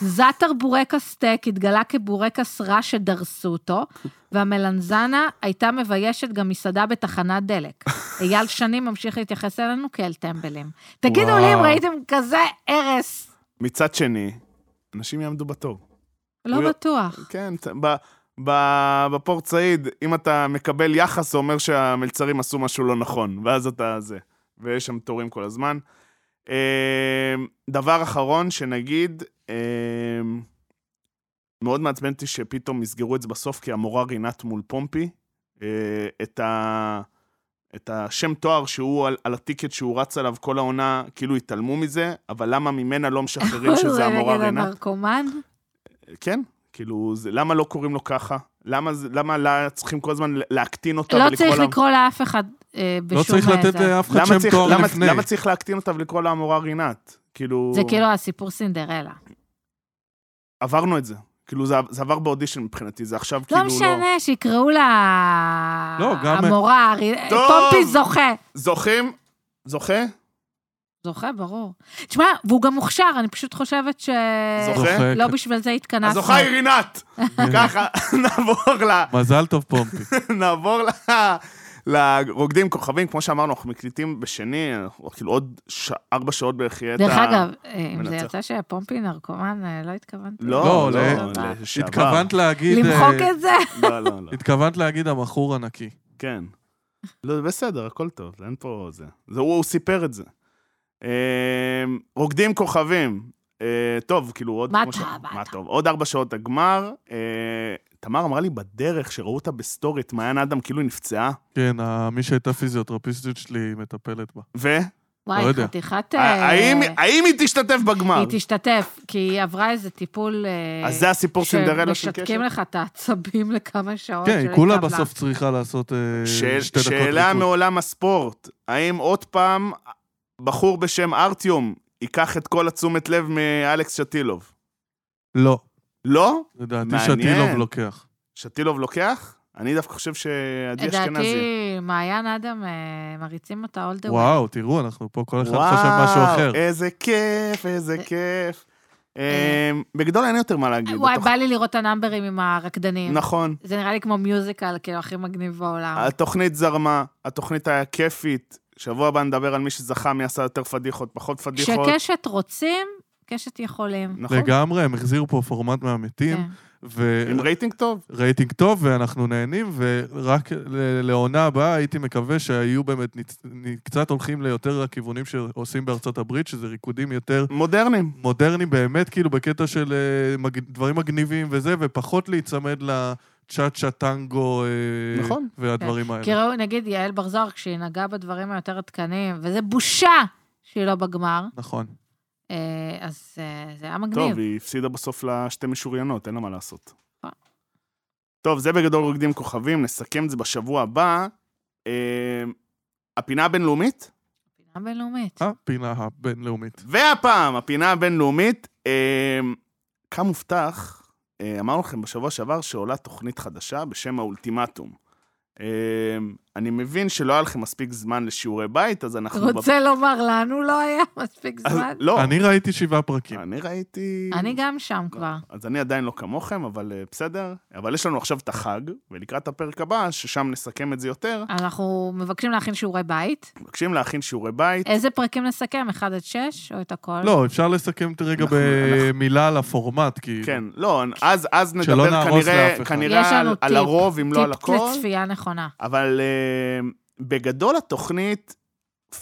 [SPEAKER 3] זאטר בורקס סטייק התגלה כבורקס רע שדרסו אותו, והמלנזנה הייתה מביישת גם מסעדה בתחנת דלק. אייל שני ממשיך להתייחס אלינו כאל טמבלים. תגידו לי אם
[SPEAKER 2] וואו.
[SPEAKER 3] ראיתם כזה הרס.
[SPEAKER 2] מצד שני, אנשים יעמדו בתור. הוא-
[SPEAKER 3] לא בטוח.
[SPEAKER 2] כן, ת- ב- ב- בפורט סעיד, אם אתה מקבל יחס, זה אומר שהמלצרים עשו משהו לא נכון, ואז אתה זה. ויש שם תורים כל הזמן. אמ, דבר אחרון שנגיד, אמ, מאוד מעצבן אותי שפתאום יסגרו את זה בסוף, כי המורה רינת מול פומפי, אה, את, ה, את השם תואר שהוא על, על הטיקט שהוא רץ עליו כל העונה, כאילו התעלמו מזה, אבל למה ממנה לא משחררים
[SPEAKER 3] אה,
[SPEAKER 2] שזה המורה
[SPEAKER 3] נגד
[SPEAKER 2] רינת?
[SPEAKER 3] הנרקומן?
[SPEAKER 2] כן, כאילו, זה, למה לא קוראים לו ככה? למה, זה- למה לה, צריכים כל הזמן להקטין אותה
[SPEAKER 3] לא
[SPEAKER 2] ולקרוא
[SPEAKER 3] צריך
[SPEAKER 2] לה...
[SPEAKER 3] לקרוא לאף אחד אה, בשום...
[SPEAKER 4] לא צריך
[SPEAKER 3] אה,
[SPEAKER 4] לתת
[SPEAKER 3] זה.
[SPEAKER 4] לאף אחד
[SPEAKER 2] למה
[SPEAKER 4] שם
[SPEAKER 2] צריך,
[SPEAKER 4] תואר
[SPEAKER 2] למה,
[SPEAKER 4] לפני.
[SPEAKER 2] למה צריך להקטין אותה ולקרוא לה המורה רינת? כאילו...
[SPEAKER 3] זה כאילו הסיפור סינדרלה.
[SPEAKER 4] כאילו
[SPEAKER 2] עברנו את זה. כאילו, זה, זה עבר באודישן מבחינתי, זה עכשיו כאילו
[SPEAKER 3] לא משנה, שיקראו לה...
[SPEAKER 4] לא, גם-
[SPEAKER 3] המורה, הרי-
[SPEAKER 2] טוב.
[SPEAKER 3] פומפי זוכה.
[SPEAKER 2] זוכים, זוכה,
[SPEAKER 3] זוכה, ברור. תשמע, והוא גם מוכשר, אני פשוט חושבת ש...
[SPEAKER 2] זוכה.
[SPEAKER 3] לא בשביל זה התכנסנו.
[SPEAKER 2] הזוכה היא רינת!
[SPEAKER 4] כן.
[SPEAKER 2] ככה, (laughs) נעבור לה...
[SPEAKER 4] (laughs) מזל טוב,
[SPEAKER 2] (laughs)
[SPEAKER 4] פומפי.
[SPEAKER 2] נעבור ל- לרוקדים כוכבים, כמו שאמרנו, אנחנו מקליטים בשני, אנחנו- כאילו עוד ש... ארבע שעות בערך יהיה את
[SPEAKER 3] דרך אגב, אה, אם זה
[SPEAKER 2] מנצח.
[SPEAKER 3] יצא שפומפי נרקומן, אה, לא התכוונתי.
[SPEAKER 2] לא,
[SPEAKER 4] לא,
[SPEAKER 2] לא,
[SPEAKER 3] ל-
[SPEAKER 2] לשעבר.
[SPEAKER 4] התכוונת להגיד...
[SPEAKER 3] למחוק
[SPEAKER 4] אה,
[SPEAKER 3] את זה?
[SPEAKER 2] לא, לא, לא.
[SPEAKER 4] התכוונת להגיד הבחור הנקי.
[SPEAKER 2] כן. לא, בסדר, הכל טוב, אין פה זה. זה הוא, הוא סיפר את זה. אה, רוקדים כוכבים. אה, טוב, כאילו עוד...
[SPEAKER 3] מה
[SPEAKER 2] כמו
[SPEAKER 3] אתה, מה אתה?
[SPEAKER 2] טוב, עוד ארבע שעות הגמר. אה, תמר אמרה לי בדרך שראו אותה בסטורי, את מעיין אדם כאילו היא נפצעה.
[SPEAKER 4] כן, ה- מי שהייתה פיזיותרפיסטית שלי מטפלת בה.
[SPEAKER 2] ו?
[SPEAKER 3] וואי,
[SPEAKER 4] יודע.
[SPEAKER 3] חתיכת... אה,
[SPEAKER 2] האם, האם היא תשתתף בגמר?
[SPEAKER 3] היא תשתתף, כי היא עברה איזה טיפול... אה,
[SPEAKER 2] אז זה הסיפור סינדרלה של קשר?
[SPEAKER 3] שמשתקים לך את העצבים לכמה שעות.
[SPEAKER 4] כן,
[SPEAKER 3] של
[SPEAKER 4] היא כולה
[SPEAKER 3] התקבלה.
[SPEAKER 4] בסוף צריכה לעשות אה,
[SPEAKER 2] שאל-
[SPEAKER 4] שתי דקות
[SPEAKER 2] שאלה
[SPEAKER 4] ריקוד.
[SPEAKER 2] מעולם הספורט, האם עוד פעם בחור בשם ארטיום ייקח את כל התשומת לב מאלכס שטילוב?
[SPEAKER 4] לא,
[SPEAKER 2] לא?
[SPEAKER 4] לדעתי
[SPEAKER 2] מעניין.
[SPEAKER 4] שטילוב לוקח.
[SPEAKER 2] שטילוב לוקח? אני דווקא חושב שעדי אשכנזי.
[SPEAKER 3] לדעתי, מעיין אדם, אה, מריצים אותה all the way.
[SPEAKER 4] וואו, תראו, אנחנו פה, כל אחד חושב משהו אחר.
[SPEAKER 2] איזה כיף,
[SPEAKER 3] אה,
[SPEAKER 2] איזה כיף. אמ, בגדול אין יותר מה להגיד.
[SPEAKER 3] וואי,
[SPEAKER 2] התוכ-
[SPEAKER 3] בא לי לראות את הנאמברים עם הרקדנים.
[SPEAKER 2] נכון.
[SPEAKER 3] זה נראה לי כמו מיוזיקל, כאילו, הכי מגניב בעולם.
[SPEAKER 2] התוכנית זרמה, התוכנית היה כיפית. שבוע הבא נדבר על מי שזכה, מי עשה יותר פדיחות, פחות פדיחות.
[SPEAKER 3] כשקשת רוצים, קשת יכולים.
[SPEAKER 2] נכון.
[SPEAKER 4] לגמרי, הם החזירו פה פורמט מהמתים,
[SPEAKER 3] כן.
[SPEAKER 2] עם רייטינג טוב.
[SPEAKER 4] ורייטינג טוב, ואנחנו נהנים, ורק ל- לעונה הבאה הייתי מקווה שהיו באמת, נצ- נ- קצת הולכים ליותר הכיוונים שעושים בארצות הברית, שזה ריקודים יותר
[SPEAKER 2] מודרניים.
[SPEAKER 4] מודרניים באמת, כאילו בקטע של אה, מג... דברים מגניבים וזה, ופחות להיצמד לצ'אצ'ה טנגו אה,
[SPEAKER 2] נכון.
[SPEAKER 4] והדברים האלה.
[SPEAKER 3] כי ראו, נגיד, יעל בר זוהר, כשהיא נגעה בדברים היותר עדכניים, וזה בושה שהיא לא בגמר,
[SPEAKER 4] נכון.
[SPEAKER 3] אה, אז אה, זה היה מגניב.
[SPEAKER 2] טוב, היא הפסידה בסוף לשתי משוריינות, אין לה מה לעשות.
[SPEAKER 3] נכון.
[SPEAKER 2] טוב, זה בגדול רוקדים כוכבים, נסכם את זה בשבוע הבא. אמ, הפינה הבינלאומית,
[SPEAKER 3] פינה בינלאומית.
[SPEAKER 2] אה,
[SPEAKER 4] הפינה אה, הבינלאומית.
[SPEAKER 2] והפעם, הפינה הבינלאומית, אמ, כמובטח, אה, אמרנו לכם בשבוע שעבר שעולה תוכנית חדשה בשם האולטימטום. אמ, אני מבין שלא היה לכם מספיק זמן לשיעורי בית, אז אנחנו...
[SPEAKER 3] רוצה לומר, לנו לא היה מספיק
[SPEAKER 2] אז-
[SPEAKER 3] זמן.
[SPEAKER 2] לא, אה,
[SPEAKER 4] אני כן. ראיתי שבעה פרקים.
[SPEAKER 2] אני ראיתי...
[SPEAKER 3] אני גם שם כבר.
[SPEAKER 2] אז אני עדיין לא כמוכם, אבל אה, בסדר. אבל יש לנו עכשיו את החג, ולקראת הפרק הבא, ששם נסכם את זה יותר,
[SPEAKER 4] אוקיי.
[SPEAKER 3] אנחנו מבקשים להכין שיעורי
[SPEAKER 4] (laughs)
[SPEAKER 3] בית.
[SPEAKER 2] מבקשים להכין שיעורי בית.
[SPEAKER 3] איזה פרקים נסכם? 1 עד 6 או את הכל?
[SPEAKER 4] לא, אפשר לסכם את רגע
[SPEAKER 2] אנחנו- אנחנו-
[SPEAKER 4] במילה על הפורמט, כי...
[SPEAKER 2] כן, לא, אז, אז
[SPEAKER 4] אה, שלא
[SPEAKER 2] נדבר
[SPEAKER 4] נהרוס
[SPEAKER 2] כנראה,
[SPEAKER 4] לאף אחד.
[SPEAKER 3] יש
[SPEAKER 2] כנראה
[SPEAKER 3] לנו
[SPEAKER 2] על, על
[SPEAKER 3] טיפ,
[SPEAKER 2] הרוב, אם לא על
[SPEAKER 3] טיפ
[SPEAKER 2] הכל.
[SPEAKER 3] לצפייה נכונה.
[SPEAKER 2] אבל אה, בגדול התוכנית,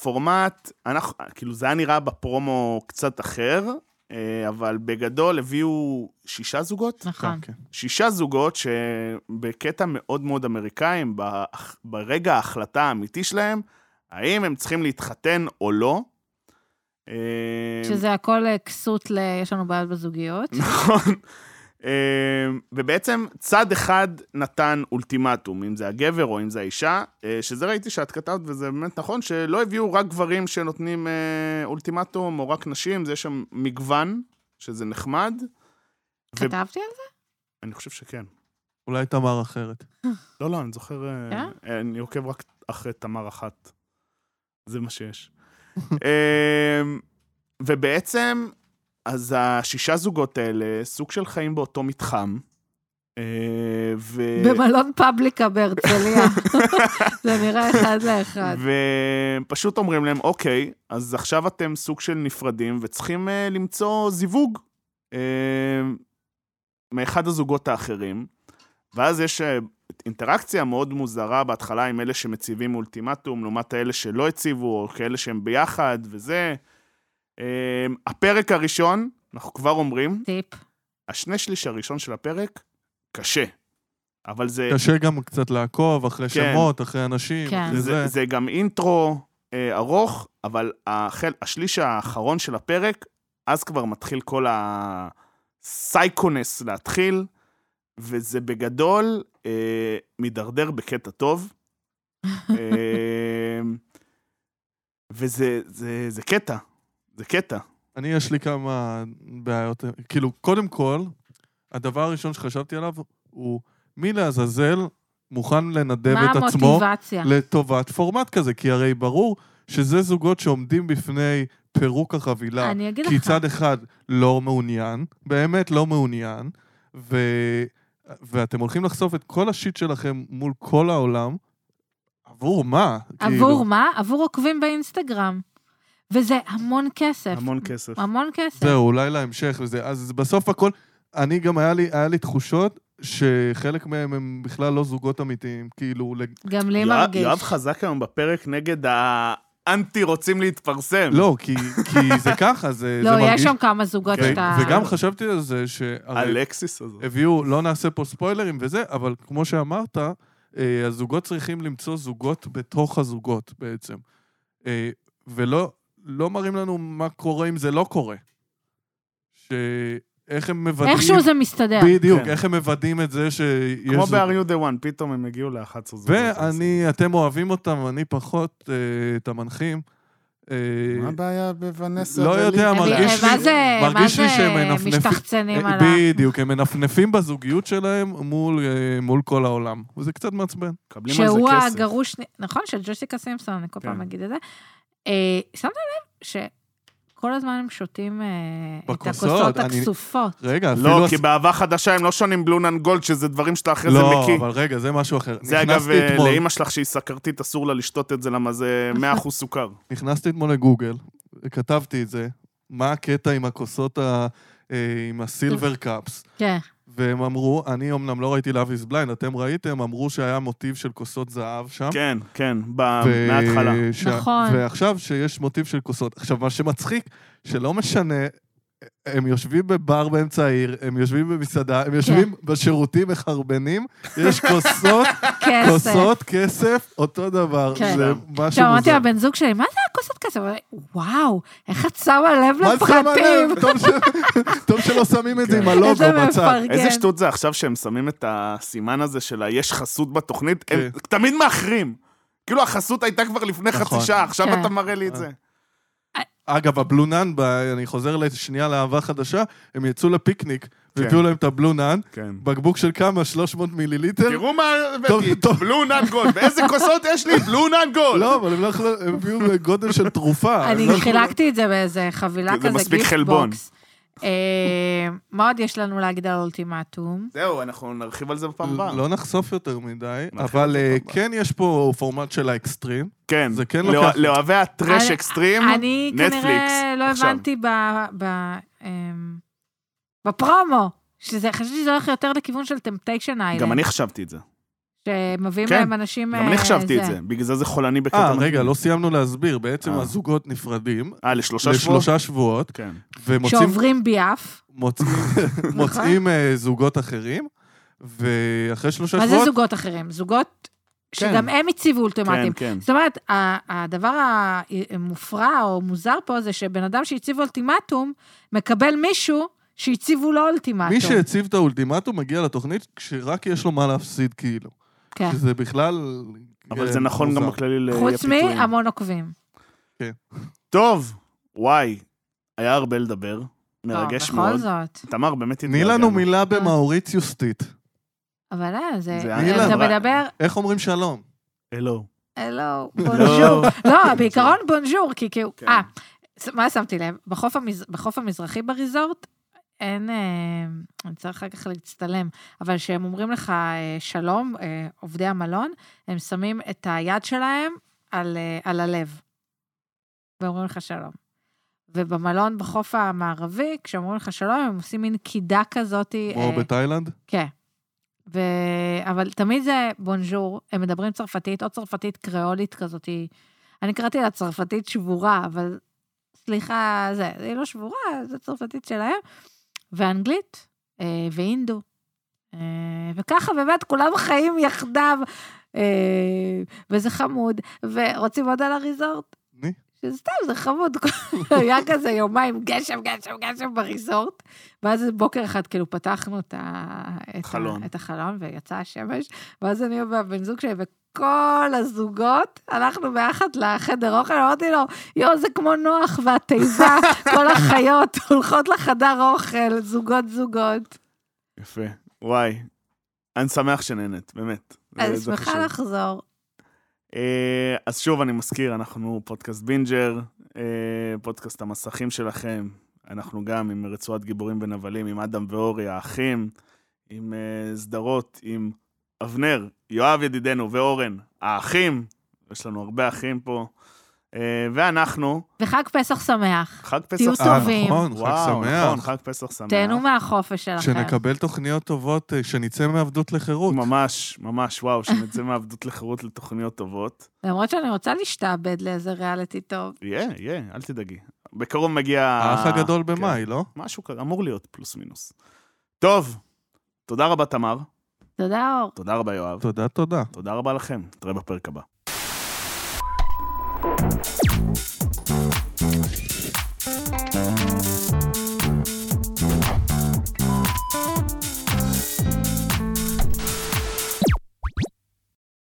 [SPEAKER 2] פורמט, אנחנו, כאילו זה היה נראה בפרומו קצת אחר, אה, אבל בגדול הביאו שישה זוגות.
[SPEAKER 3] נכון.
[SPEAKER 4] כן.
[SPEAKER 2] שישה זוגות שבקטע מאוד מאוד אמריקאי, הם בהח- ברגע ההחלטה האמיתי שלהם, האם הם צריכים להתחתן או לא. אה,
[SPEAKER 4] אוקיי.
[SPEAKER 3] שזה הכל אה, כסות ל... יש לנו בעיות
[SPEAKER 4] (laughs)
[SPEAKER 3] בזוגיות.
[SPEAKER 2] נכון. אה, ובעצם צד אחד נתן אולטימטום, אם זה הגבר או אם זה האישה, אה, שזה ראיתי שאת כתבת, וזה באמת נכון, שלא הביאו רק גברים שנותנים אה, אולטימטום או רק נשים, זה יש שם מגוון, שזה נחמד.
[SPEAKER 3] כתבתי על זה?
[SPEAKER 2] אני חושב שכן.
[SPEAKER 4] אולי תמר אחרת.
[SPEAKER 2] לא, לא, אני זוכר... אה,
[SPEAKER 3] כן?
[SPEAKER 2] אני עוקב רק אחרי תמר אחת. זה מה שיש. אמ, ובעצם, אז השישה זוגות האלה, סוג של חיים באותו מתחם. אה, ו...
[SPEAKER 3] במלון
[SPEAKER 4] (laughs)
[SPEAKER 3] פאבליקה בהרצליה. זה נראה אחד לאחד.
[SPEAKER 2] ופשוט אומרים להם, אוקיי, אז עכשיו אתם סוג של נפרדים וצריכים אה, למצוא זיווג אה, מאחד הזוגות האחרים. ואז יש אה, אינטראקציה מאוד מוזרה בהתחלה עם אלה שמציבים אולטימטום, לעומת האלה שלא הציבו, או כאלה שהם ביחד וזה. אה, הפרק הראשון, אנחנו כבר אומרים,
[SPEAKER 3] טיפ.
[SPEAKER 2] השני שליש הראשון של הפרק, קשה. אבל זה...
[SPEAKER 4] קשה גם קצת לעקוב אחרי
[SPEAKER 2] כן.
[SPEAKER 4] שמות, אחרי אנשים,
[SPEAKER 3] כן.
[SPEAKER 4] אחרי
[SPEAKER 2] זה,
[SPEAKER 4] זה.
[SPEAKER 2] זה גם אינטרו אה, ארוך, אבל החל, השליש האחרון של הפרק, אז כבר מתחיל כל הסייקונס להתחיל, וזה בגדול אה, מידרדר בקטע טוב. אה, וזה זה, זה קטע, זה קטע.
[SPEAKER 4] אני, יש לי כמה בעיות. כאילו, קודם כל, הדבר הראשון שחשבתי עליו הוא מי לעזאזל מוכן לנדב
[SPEAKER 3] מה
[SPEAKER 4] את עצמו
[SPEAKER 3] המוטיבציה?
[SPEAKER 4] לטובת פורמט כזה, כי הרי ברור שזה זוגות שעומדים בפני פירוק החבילה.
[SPEAKER 3] אני אגיד
[SPEAKER 4] כי
[SPEAKER 3] לך.
[SPEAKER 4] צד אחד לא מעוניין, באמת לא מעוניין, ו... ואתם הולכים לחשוף את כל השיט שלכם מול כל העולם, עבור מה? כאילו.
[SPEAKER 3] עבור מה? עבור עוקבים באינסטגרם. וזה המון כסף.
[SPEAKER 2] המון כסף.
[SPEAKER 3] המון כסף.
[SPEAKER 4] זהו, אולי להמשך וזה. אז בסוף הכל, אני גם היה לי, היה לי תחושות שחלק מהם הם בכלל לא זוגות אמיתיים, כאילו... לג...
[SPEAKER 3] גם לי
[SPEAKER 2] יואב-
[SPEAKER 3] מרגיש.
[SPEAKER 2] יואב חזק היום בפרק נגד האנטי רוצים להתפרסם.
[SPEAKER 4] לא, כי, כי זה (laughs) ככה, זה,
[SPEAKER 3] לא,
[SPEAKER 4] זה מרגיש...
[SPEAKER 3] יש שם כמה זוגות
[SPEAKER 2] כן.
[SPEAKER 3] שאתה...
[SPEAKER 4] ו- וגם חשבתי על זה שהרי
[SPEAKER 2] אלקסיס הזאת.
[SPEAKER 4] הביאו, לא נעשה פה ספוילרים וזה, אבל כמו שאמרת, אה, הזוגות צריכים למצוא זוגות בתוך הזוגות בעצם. אה, ולא לא מראים לנו מה קורה אם זה לא קורה. שאיך הם מוודאים...
[SPEAKER 3] איכשהו זה מסתדר.
[SPEAKER 4] בדיוק,
[SPEAKER 2] כן.
[SPEAKER 4] איך הם מוודאים את זה שיש...
[SPEAKER 2] כמו
[SPEAKER 4] זוג-
[SPEAKER 2] ב-R you the one, פתאום הם הגיעו ל-11 זוגות.
[SPEAKER 4] ואני, אתם אוהבים אותם, אני פחות, אה, את המנחים. אה,
[SPEAKER 5] מה הבעיה בוונסה?
[SPEAKER 4] לא
[SPEAKER 5] ולילי?
[SPEAKER 4] יודע מה
[SPEAKER 3] אני- אה,
[SPEAKER 4] מרגיש לי-
[SPEAKER 3] מה זה, מה
[SPEAKER 4] מרגיש לי שהם
[SPEAKER 3] זה
[SPEAKER 4] מנפנפים-
[SPEAKER 3] משתחצנים
[SPEAKER 4] אה,
[SPEAKER 3] עליו?
[SPEAKER 4] בדיוק, הם מנפנפים בזוגיות שלהם מול, אה, מול כל העולם. וזה קצת מעצבן.
[SPEAKER 2] מקבלים על זה
[SPEAKER 3] שהוא
[SPEAKER 2] כסף.
[SPEAKER 3] הגרוש, נכון, של ג'סיקה סימפסון, אני כל
[SPEAKER 2] כן.
[SPEAKER 3] פעם אגיד את זה. אה, שמת לב שכל הזמן הם שותים אה, את
[SPEAKER 4] בכוסות,
[SPEAKER 3] הכוסות
[SPEAKER 4] אני-
[SPEAKER 3] הכסופות.
[SPEAKER 4] רגע, אפילו...
[SPEAKER 2] לא,
[SPEAKER 4] הס-
[SPEAKER 2] כי באהבה חדשה הם לא שונים בלון אנד גולד, שזה דברים שאתה אחרי זה
[SPEAKER 4] לא,
[SPEAKER 2] מקיא.
[SPEAKER 4] אבל רגע, זה משהו אחר.
[SPEAKER 2] זה אגב, אה,
[SPEAKER 4] נכנסתי אתמול-
[SPEAKER 2] לאימא שלך שהיא סכרתית, אסור לה לשתות את זה, למה
[SPEAKER 3] (laughs)
[SPEAKER 2] זה 100% סוכר.
[SPEAKER 4] נכנסתי אתמול לגוגל, כתבתי את זה, מה הקטע עם הכוסות, ה... אה, עם הסילבר קאפס,
[SPEAKER 3] כן.
[SPEAKER 4] והם אמרו, אני אמנם לא ראיתי Love is Blind, אתם ראיתם, אמרו שהיה מוטיב של כוסות זהב שם.
[SPEAKER 2] כן, כן, ב- מההתחלה.
[SPEAKER 4] ש...
[SPEAKER 3] נכון.
[SPEAKER 4] ועכשיו שיש מוטיב של כוסות. עכשיו, מה שמצחיק, שלא משנה, הם יושבים בבר באמצע העיר, הם יושבים במסעדה,
[SPEAKER 3] כן.
[SPEAKER 4] הם יושבים בשירותים מחרבנים, יש כוסות,
[SPEAKER 3] (laughs) כסף.
[SPEAKER 4] כוסות, כסף, אותו דבר.
[SPEAKER 3] כן.
[SPEAKER 4] זה משהו
[SPEAKER 3] עכשיו, אמרתי
[SPEAKER 4] מוזר.
[SPEAKER 3] לבן זוג שלי, מה זה הכוסות כסף? הוא אומר, וואו, איך את שמה לב
[SPEAKER 4] מה זה שמה
[SPEAKER 3] לפרטים? כן.
[SPEAKER 4] לב? (laughs) טוב ש- טוב שלא שמים את זה עם הלוגו
[SPEAKER 3] איזה
[SPEAKER 4] בצד.
[SPEAKER 3] מפרגן.
[SPEAKER 2] איזה שטות זה עכשיו שהם שמים את הסימן הזה של היש חסות בתוכנית? הם
[SPEAKER 4] כן.
[SPEAKER 2] תמיד מאחרים. כאילו החסות הייתה כבר לפני
[SPEAKER 4] נכון.
[SPEAKER 2] חצי שעה, עכשיו
[SPEAKER 3] כן.
[SPEAKER 2] אתה מראה לי את זה.
[SPEAKER 4] אגב, הבלונן, אני חוזר לשנייה לאהבה חדשה, הם יצאו לפיקניק, והביאו להם את הבלונן,
[SPEAKER 2] כן.
[SPEAKER 4] בקבוק של כמה? 300 מיליליטר?
[SPEAKER 2] תראו מה
[SPEAKER 4] טוב,
[SPEAKER 2] הבאתי,
[SPEAKER 4] טוב.
[SPEAKER 2] בלון אנד גולד, באיזה כוסות יש לי? בלון אנד גולד.
[SPEAKER 4] לא, אבל הם לא יכלו, הם הביאו גודל של תרופה.
[SPEAKER 3] אני
[SPEAKER 4] הם לא יכלו-
[SPEAKER 3] חילקתי את זה באיזה חבילה
[SPEAKER 2] כי זה
[SPEAKER 3] כזה,
[SPEAKER 2] מספיק
[SPEAKER 3] גיפט
[SPEAKER 2] חלבון.
[SPEAKER 3] בוקס. אה, מה עוד יש לנו להגיד על אולטימטום?
[SPEAKER 2] זהו, אנחנו נרחיב על זה בפעם הבאה.
[SPEAKER 4] לא נחשוף יותר מדי,
[SPEAKER 2] נתחיל
[SPEAKER 4] אבל אה,
[SPEAKER 2] בפעם הבאה.
[SPEAKER 4] כן יש פה פורמט של האקסטרים.
[SPEAKER 2] כן,
[SPEAKER 4] זה כן
[SPEAKER 2] לא-
[SPEAKER 4] לוקח-
[SPEAKER 2] לאוהבי הטרש
[SPEAKER 3] אני-
[SPEAKER 2] אקסטרים,
[SPEAKER 3] אני כנראה
[SPEAKER 2] נטפליקס.
[SPEAKER 3] לא
[SPEAKER 2] עכשיו.
[SPEAKER 3] הבנתי ב- ב- אמ, בפרומו, שזה, חשבתי שזה הולך יותר לכיוון של טמפטיישן
[SPEAKER 2] גם אני
[SPEAKER 3] איילנד,
[SPEAKER 2] חשבתי את זה.
[SPEAKER 3] שמביאים
[SPEAKER 2] כן,
[SPEAKER 3] להם אנשים...
[SPEAKER 2] גם אני
[SPEAKER 3] אה,
[SPEAKER 2] חשבתי את זה, בגלל זה זה חולני בקטע.
[SPEAKER 4] אה,
[SPEAKER 2] מדהים.
[SPEAKER 4] רגע, לא סיימנו להסביר. בעצם
[SPEAKER 2] אה.
[SPEAKER 4] הזוגות נפרדים
[SPEAKER 2] אה, לשלושה שבועות?
[SPEAKER 4] לשלושה שבועות,
[SPEAKER 2] כן.
[SPEAKER 4] ומוצאים
[SPEAKER 3] שעוברים נכון. ביעף.
[SPEAKER 4] מוצאים- מוצאים אה, זוגות אחרים, ואחרי שלושה
[SPEAKER 3] מה זה
[SPEAKER 4] שבועות...
[SPEAKER 3] זוגות אחרים? זוגות
[SPEAKER 2] כן.
[SPEAKER 3] שגם הם הציבו
[SPEAKER 2] כן,
[SPEAKER 3] אולטימטים.
[SPEAKER 2] כן.
[SPEAKER 3] זאת אומרת, ה- הדבר המופרע או מוזר פה זה שבן אדם שהציב אולטימטום, מקבל מישהו שהציבו לו אולטימטום.
[SPEAKER 4] מי שהציב את האולטימטום מגיע לתוכנית כשרק יש לו מה להפסיד, כאילו.
[SPEAKER 3] כן.
[SPEAKER 4] שזה בכלל...
[SPEAKER 2] אבל
[SPEAKER 4] אה,
[SPEAKER 2] זה נכון גם
[SPEAKER 4] מוזר.
[SPEAKER 2] בכללי
[SPEAKER 3] חוץ
[SPEAKER 2] לפיתויים.
[SPEAKER 3] מהמון עוקבים.
[SPEAKER 2] טוב, וואי, היה הרבה לדבר, מרגש
[SPEAKER 3] טוב,
[SPEAKER 2] מאוד.
[SPEAKER 3] לא, בכל זאת.
[SPEAKER 2] תמר, באמת
[SPEAKER 4] תני
[SPEAKER 2] התגעגענו.
[SPEAKER 4] לנו
[SPEAKER 3] אה.
[SPEAKER 4] מילה במאוריציוסטית.
[SPEAKER 3] אבל אה, זה...
[SPEAKER 2] זה לא
[SPEAKER 4] היה
[SPEAKER 3] אתה
[SPEAKER 2] נורא.
[SPEAKER 3] מדבר,
[SPEAKER 4] איך אומרים שלום?
[SPEAKER 2] הלו.
[SPEAKER 3] הלו, בונז'ור. לא, בעיקרון בונז'ור, כי כאילו...
[SPEAKER 2] כן.
[SPEAKER 3] אה, ס- מה שמתי לב? בחוף המז- בחוף המזרחי בריזורט, אין... אה, אני צריך אחר כך להצטלם, אבל כשהם אומרים לך אה, שלום, אה, עובדי המלון, הם שמים את היד שלהם על, אה, על הלב, ואומרים לך שלום. ובמלון בחוף המערבי, כשאומרים לך שלום, הם עושים מין קידה כזאת.
[SPEAKER 4] כמו בתאילנד?
[SPEAKER 3] כן. ו... אבל תמיד זה בונז'ור, הם מדברים צרפתית, או צרפתית קריאולית כזאת. היא- אני קראתי לה צרפתית שבורה, אבל סליחה, זה, היא לא שבורה, זו צרפתית שלהם. ואנגלית, אה, והינדו. אה, וככה באמת כולם חיים יחדיו, אה, וזה חמוד, ורוצים עוד על הריזורט.
[SPEAKER 4] מי?
[SPEAKER 3] שסתם, זה חמוד. היה כזה יומיים גשם, גשם, גשם בריזורט, ואז בוקר אחד כאילו פתחנו את, ה... את,
[SPEAKER 2] חלון.
[SPEAKER 3] ה... את החלון ויצא השמש, ואז אני והבן זוג שלי וכל הזוגות, הלכנו ביחד לחדר אוכל, אמרתי לו, יואו, זה כמו נוח
[SPEAKER 2] (laughs)
[SPEAKER 3] והתיבה, כל החיות הולכות לחדר אוכל, זוגות-זוגות.
[SPEAKER 2] יפה. וואי, אני שמח שנהנית, באמת.
[SPEAKER 3] אני
[SPEAKER 2] זה- זה
[SPEAKER 3] שמחה
[SPEAKER 2] חשוב.
[SPEAKER 3] לחזור.
[SPEAKER 2] אה, אז שוב, אני מזכיר, אנחנו פודקאסט בינג'ר, אה, פודקאסט המסכים שלכם. אנחנו גם עם רצועת גיבורים ונבלים, עם אדם ואורי, האחים, עם אה, סדרות, עם אבנר, יואב ידידנו ואורן, האחים. יש לנו הרבה אחים פה. אה, ואנחנו,
[SPEAKER 3] וחג פסח שמח.
[SPEAKER 2] חג פסח
[SPEAKER 3] תהיו
[SPEAKER 2] שמח.
[SPEAKER 4] אה,
[SPEAKER 3] טובים.
[SPEAKER 4] נכון, חג
[SPEAKER 2] וואו, נכון,
[SPEAKER 4] שמח.
[SPEAKER 2] חג פסח שמח.
[SPEAKER 3] תהנו מהחופש שלכם.
[SPEAKER 4] שנקבל תוכניות טובות, אה, שנצא מעבדות לחירות.
[SPEAKER 2] ממש, ממש, וואו, שנצא מעבדות לחירות לתוכניות טובות.
[SPEAKER 3] למרות שאני רוצה להשתעבד לאיזה ריאליטי טוב.
[SPEAKER 2] יהיה, יהיה, אל תדאגי. בקרוב מגיע...
[SPEAKER 4] האח הגדול
[SPEAKER 2] כן.
[SPEAKER 4] במאי, לא?
[SPEAKER 2] משהו כזה, אמור להיות פלוס מינוס. טוב, תודה רבה, תמר.
[SPEAKER 3] תודה, אור.
[SPEAKER 2] תודה רבה, יואב.
[SPEAKER 4] תודה, תודה.
[SPEAKER 2] תודה רבה לכם. נתראה בפרק הבא.